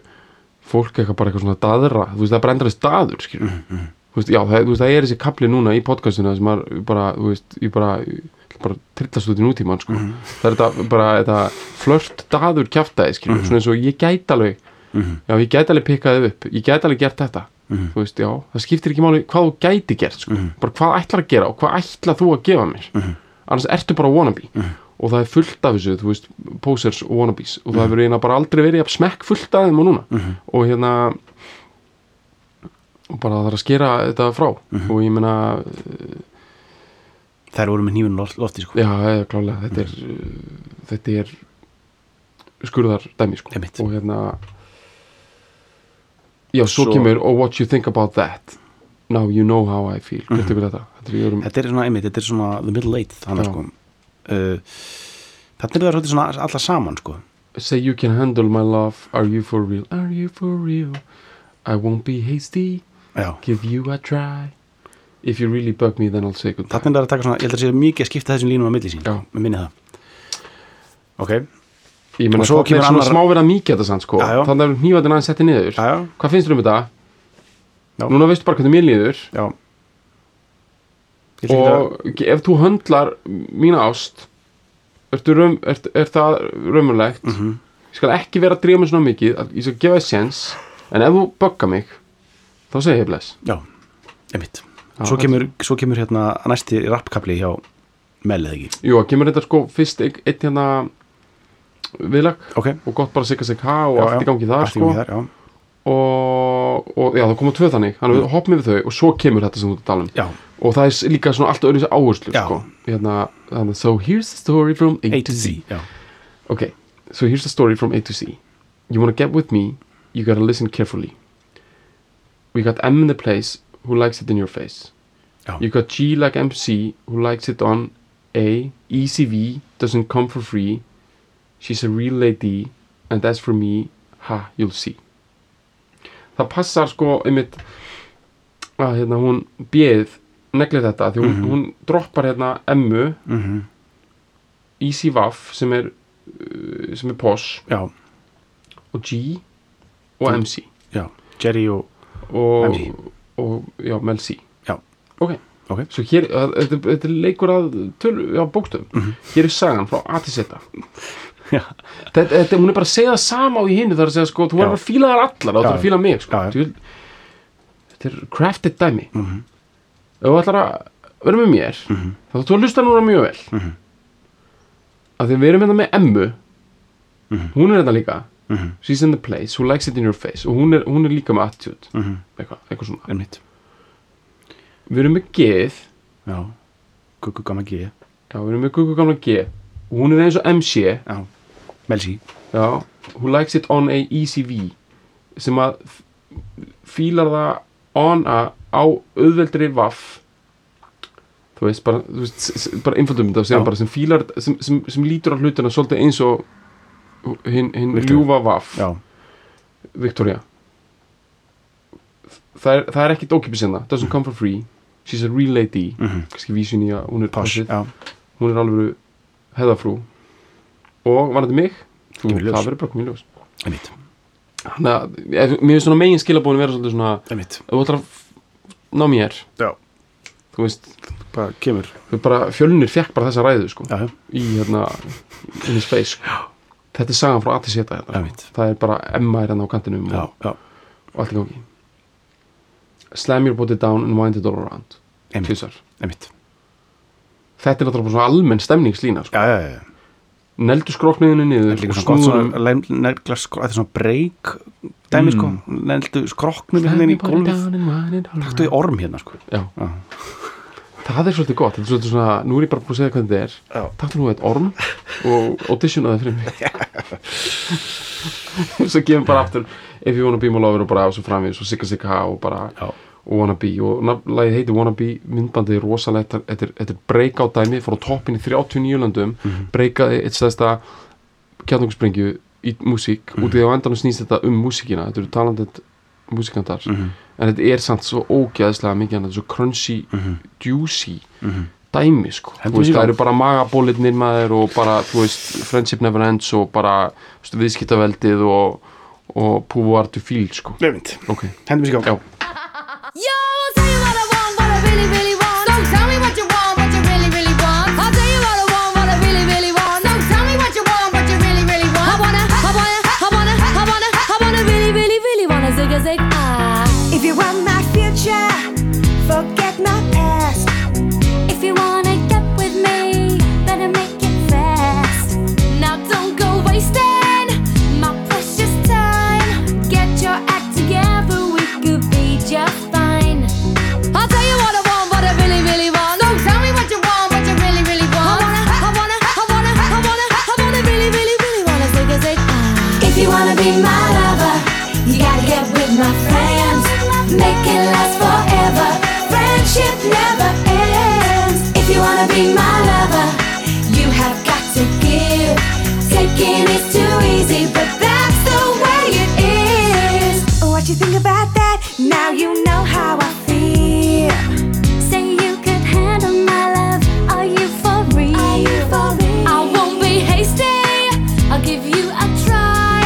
fólk eitthvað bara eitthvað svona daðra, þú veist, það er bara endraðist daður skilur,
Mhm,
þú veist, já, það, þú veist, það er þessi kapli núna í podcastinu sem er bara, þú veist, ég bara ég ætla bara trillast út í nútímann sko. það er þetta bara þetta flört daður kjaftaði skilur, svona eins og ég gæti alveg
Mhm.
já, ég gæti alveg pikkaði upp, ég gæti alveg gert þetta
Mhm.
þú veist, já, það skiptir ekki máli hvað þú gæti gert, sko, bara hvað ætlar að gera og hvað ætlar þú að gefa mér
Mhm.
annars ertu bara wannabe og það er fullt af þessu, þú veist, posers og wannabes og það hefur eina bara aldrei verið jafn smekk fullt af þeim og núna
Mhm.
og hérna og bara það er að skera þetta frá
Mhm.
og ég meina,
þær voru með hnífun lofti sko
Já, já, klálega, þetta er
Mhm.
uh, þetta er skurðar dæmi sko
Einmitt.
og hérna já, svo,
Svo-
kemur oh, what you think about that now you know how I feel mm -hmm. þetta? Þetta er, jörum,
Mhm. þetta er svona einmitt, þetta er svona the middle eight þannig
Já.
sko uh, þetta er það svolítið svona alla saman sko
say you can handle my love are you for real, are you for real I won't be hasty
já
give you a try if you really bug me then I'll say goodbye
Þarna er það að taka svona, ég held að sé mikið að skipta þessum línum að milli sín,
Já.
með minni það Ok,
ég meina
og svo
það er
kemur
svona
annar-
smá verið að mikið þetta sann sko
Já, já.
þannig að hnífaðin aðeins setti niður
já, já,
hvað finnst þér um þetta?
Já.
núna veistu bara hvernig mér líður
já Ég ætla ekki að-
og ef þú höndlar mína ást ertu raum, er, er það raumulegt
Mhm.
ég skal ekki vera að drífa mig svona mikið að- ég skal gefa þér séns en ef þú bögga mig þá segi ég bless
Já, einmitt
Já,
svo, kemur, svo kemur hérna næsti rappkapli hjá Mel eða ekki
jú, það kemur þetta sko fyrst eitt, eitt hérna viðlag
Ok,
og gott bara sigga sig ha og
Já,
allt í
já.
gangi þar
allt í
sko
gangi þar, já
og, og já, það koma tvö þannig þannig við hoppum við þau og svo kemur þetta sem þú ert að tala um
Mm. Já,
og það er s- líka svona allt öðru áherslu
Já.
sko hérna, hérna, so here's the story from A,
A to Z Já,
Okay, so here's the story from A to C. You want to get with me, you gotta listen carefully. We got M in the place who likes it in your face.
Já.
You got G like MC who likes it on A. ECV doesn't come for free. She's a real lady and as for me, ha, you'll see. Það passar sko einmitt að hérna hún bjöð neglir þetta því hún, hún droppar hérna E M-u
mm
Easy Vaff sem er uh, sem er POS
já,
og G og
Mm.
MC
já Jerry og,
og,
MC.
og já, Mel C
já,
ok,
ok
svo hér, að- þetta þetta er leikur að tölu, já, bókstöfum
Mhm.
hér er sagan frá A til Z
Já,
þetta, þetta, hún er bara að segja það sama og í hinu þar að segja sko, þú
Já.
verður að fíla þær allar, þá
Já,
þarf að fíla mig sko.
já, Mhm. já.
Þú- þetta er crafted dæmi ef þú ætlar að vera með mér
Mhm.
þá þú að hlusta núna mjög vel mm -hmm. að því við erum hérna með Emmu hún er hérna líka
Mhm.
she's in the place, who likes it in your face og hún er, hún er líka með attitude
mhm,
eitthvað, eitthvað svona
einmitt
við erum með geð,
já, guggu gamma G
já við erum með gugu gamla G og hún er eins og MC
já, Melsi
já, who likes it on a ECV sem að f- fílar það on a á auðveldri vaff þú veist, bara, þú veist, s- s- bara einföldum þetta sem,
Já.
bara, sem fílar, sem, sem, sem lítur á hlutina svolítið eins og hinn hin
Viktoría.
ljúfa vaff
já,
Victoria það er, það er ekkit ókipis hérna doesn't come for free, she's a real lady
mhm,
kannski vísun í að hún er
pass
poshið.
já,
hún er alveg heðafrú og var þetta mig? Þú,
Kemur í ljós.
það verður bara komið í ljós
einmitt,
Þannig að, ef- mér finnst svona megin skilabóðin vera svolítið svona,
einmitt
ef þú ætlar að f- ná mér,
já,
þú veist
bara kemur
þú bara, fjölnir fekk bara þessa ræðu sko,
já, já,
í hérna, in his face sko. þetta er sagan frá Atis Heta hérna.
Einmitt.
það er bara Emma er hérna á kantinum
já,
og,
já,
og allt í gangi slam your body down and wind it all around
einmitt,
Tvisvar.
einmitt
þetta er náttúrulega bara svona almenn stemningslína sko.
já, já, já, já
neldu skrokniðinu
Það er
niður
líka
og
svona gott
snúðum
svona lem- negla skro- Þetta er svona break dæmi
Mm.
sko Neldu skrokknum
Slam
hérna í
your body
gólfið
down and wind it all
Taktu í
around.
orm hérna sko
Já.
Já.
það er svolítið gott, þetta er svolítið svona nú er ég bara búin að segja hvernig þetta er
Já.
taktu nú eitt orm og audition að það fyrir mig svo kemur bara aftur If You Wanna Be My Lover og bara og svo framvið og Sigga Sigga Ha og bara
Já.
og Wanna Be og lagið heitir Wanna Be myndbandið er rosalegt þetta er- þetta er breakout dæmi frá toppin í 39 löndum
Mhm.
breakaði eitt stæðsta kjarnungusprengju í músík
Mhm.
út í því að á endanum snýst þetta um músíkina þetta eru talandið músíkantar
Mhm.
en þetta er samt svo ógeðslega mikið annað, svo crunchy, juicy
Mhm.
dæmi sko
Heldur
Þú veist,
sig í
það
gang.
eru bara magabólitnir maður og bara, þú veist, friendship never ends og bara þú veist, viðskiptaveldið og, og púvar to feel sko
Nefnt,
ok,
hendum sér
já,
gang
Yo, I'll tell you what I want, what I really, really want. So tell me what you want, what you really, really want. I'll tell you what I want, what I really, really want. So tell me what you want, what you really, really want. I wanna, I wanna, I wanna, I wanna, I wanna really, really, really wanna zig a zig ah.
If you want my future, forget my past.
If you wanna get with me, better make it fast. Now don't go wasting my precious time. Get your act together, we could be just fine. I'll tell you what I want, what I really, really want. So tell me what you want, what you really, really want. I wanna, I wanna, I wanna, I wanna, I wanna really, really, really wanna zig a zig. ah.
If you wanna be my lover, you gotta get with my friends. Make it last forever. Friendship never ends. If you wanna be my lover, you have got to give. Taking is too easy, but that's the way it is. What you think about that? Now you know how I feel.
Say you could handle my love. Are you for real?
Are you for real?
I won't be hasty. I'll give you a try.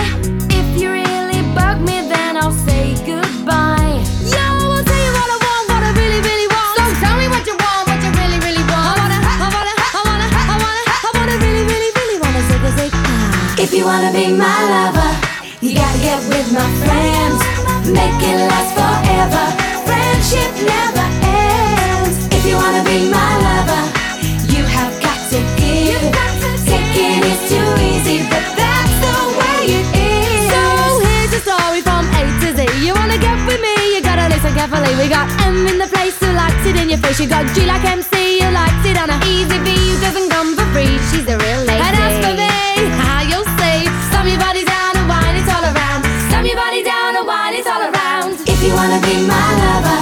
If you really bug me, then I'll say goodbye. Yo, I'll tell you what I want, what I really, really want. So tell me what you want, what you really, really want. I wanna, I wanna, I wanna, I wanna, I wanna really, really, really wanna zig a zig.
If you wanna be my lover, you gotta get with my friends. Make it last forever. Friendship never ends. If you wanna be my lover, you have got to give. Taking is too easy, but that's the way it is.
So here's a story from A to Z. You wanna get with me? You gotta listen carefully. We got M in the place who likes it in your face. You got G like MC who likes it on a easy V who doesn't come for free. She's a real lady. And as for me, how you'll see, slam your body down and wine it all around. Slam your body down and wine it all around.
If you wanna be my lover,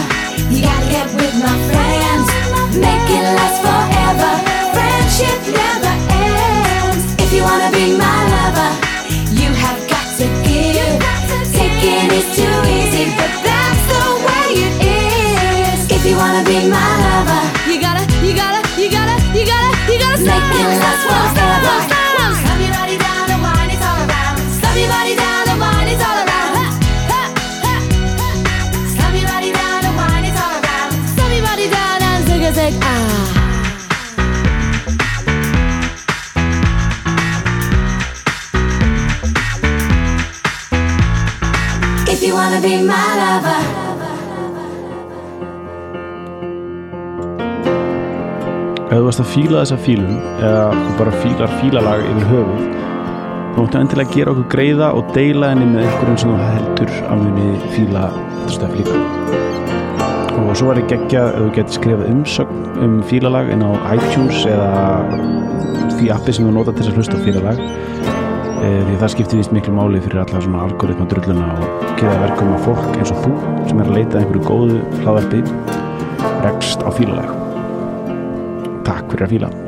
you gotta get with my friends. Make it last forever. Friendship never ends. If you wanna be my lover, you have got to give. Taking is too easy, but that's the way it is. If you wanna be my lover,
You gotta, you gotta, you gotta, you gotta, you gotta
Make
slam,
it last
slam, slam,
forever.
slam. Slam your body down and wine it all around. Slam your body down and wine it all around. Ha, ha, ha, ha. Slam your body down and wine it all around. Slam your body down and zig a zig ah.
if you wanna be my lover.
Ef þú varst að fíla þessa fílun eða þú bara fílar fílalag yfir höfuð Nú ættu endilega að gera okkur greiða og deila henni með einhverjum sem þú heldur að muni fíla þetta stöf líka. Og svo er ég geggja ef þú getur skrifað umsögn um fílalag inn á iTunes eða því appi sem þú nota til þess að hlusta á fílalag. E, því það skiptir víst miklu máli fyrir alla svona algoritma drulluna og geða verkum að fólk eins og þú sem er að leita að einhverju góðu hlaðarpi rekst á fílalag. Takk fyrir að fíla.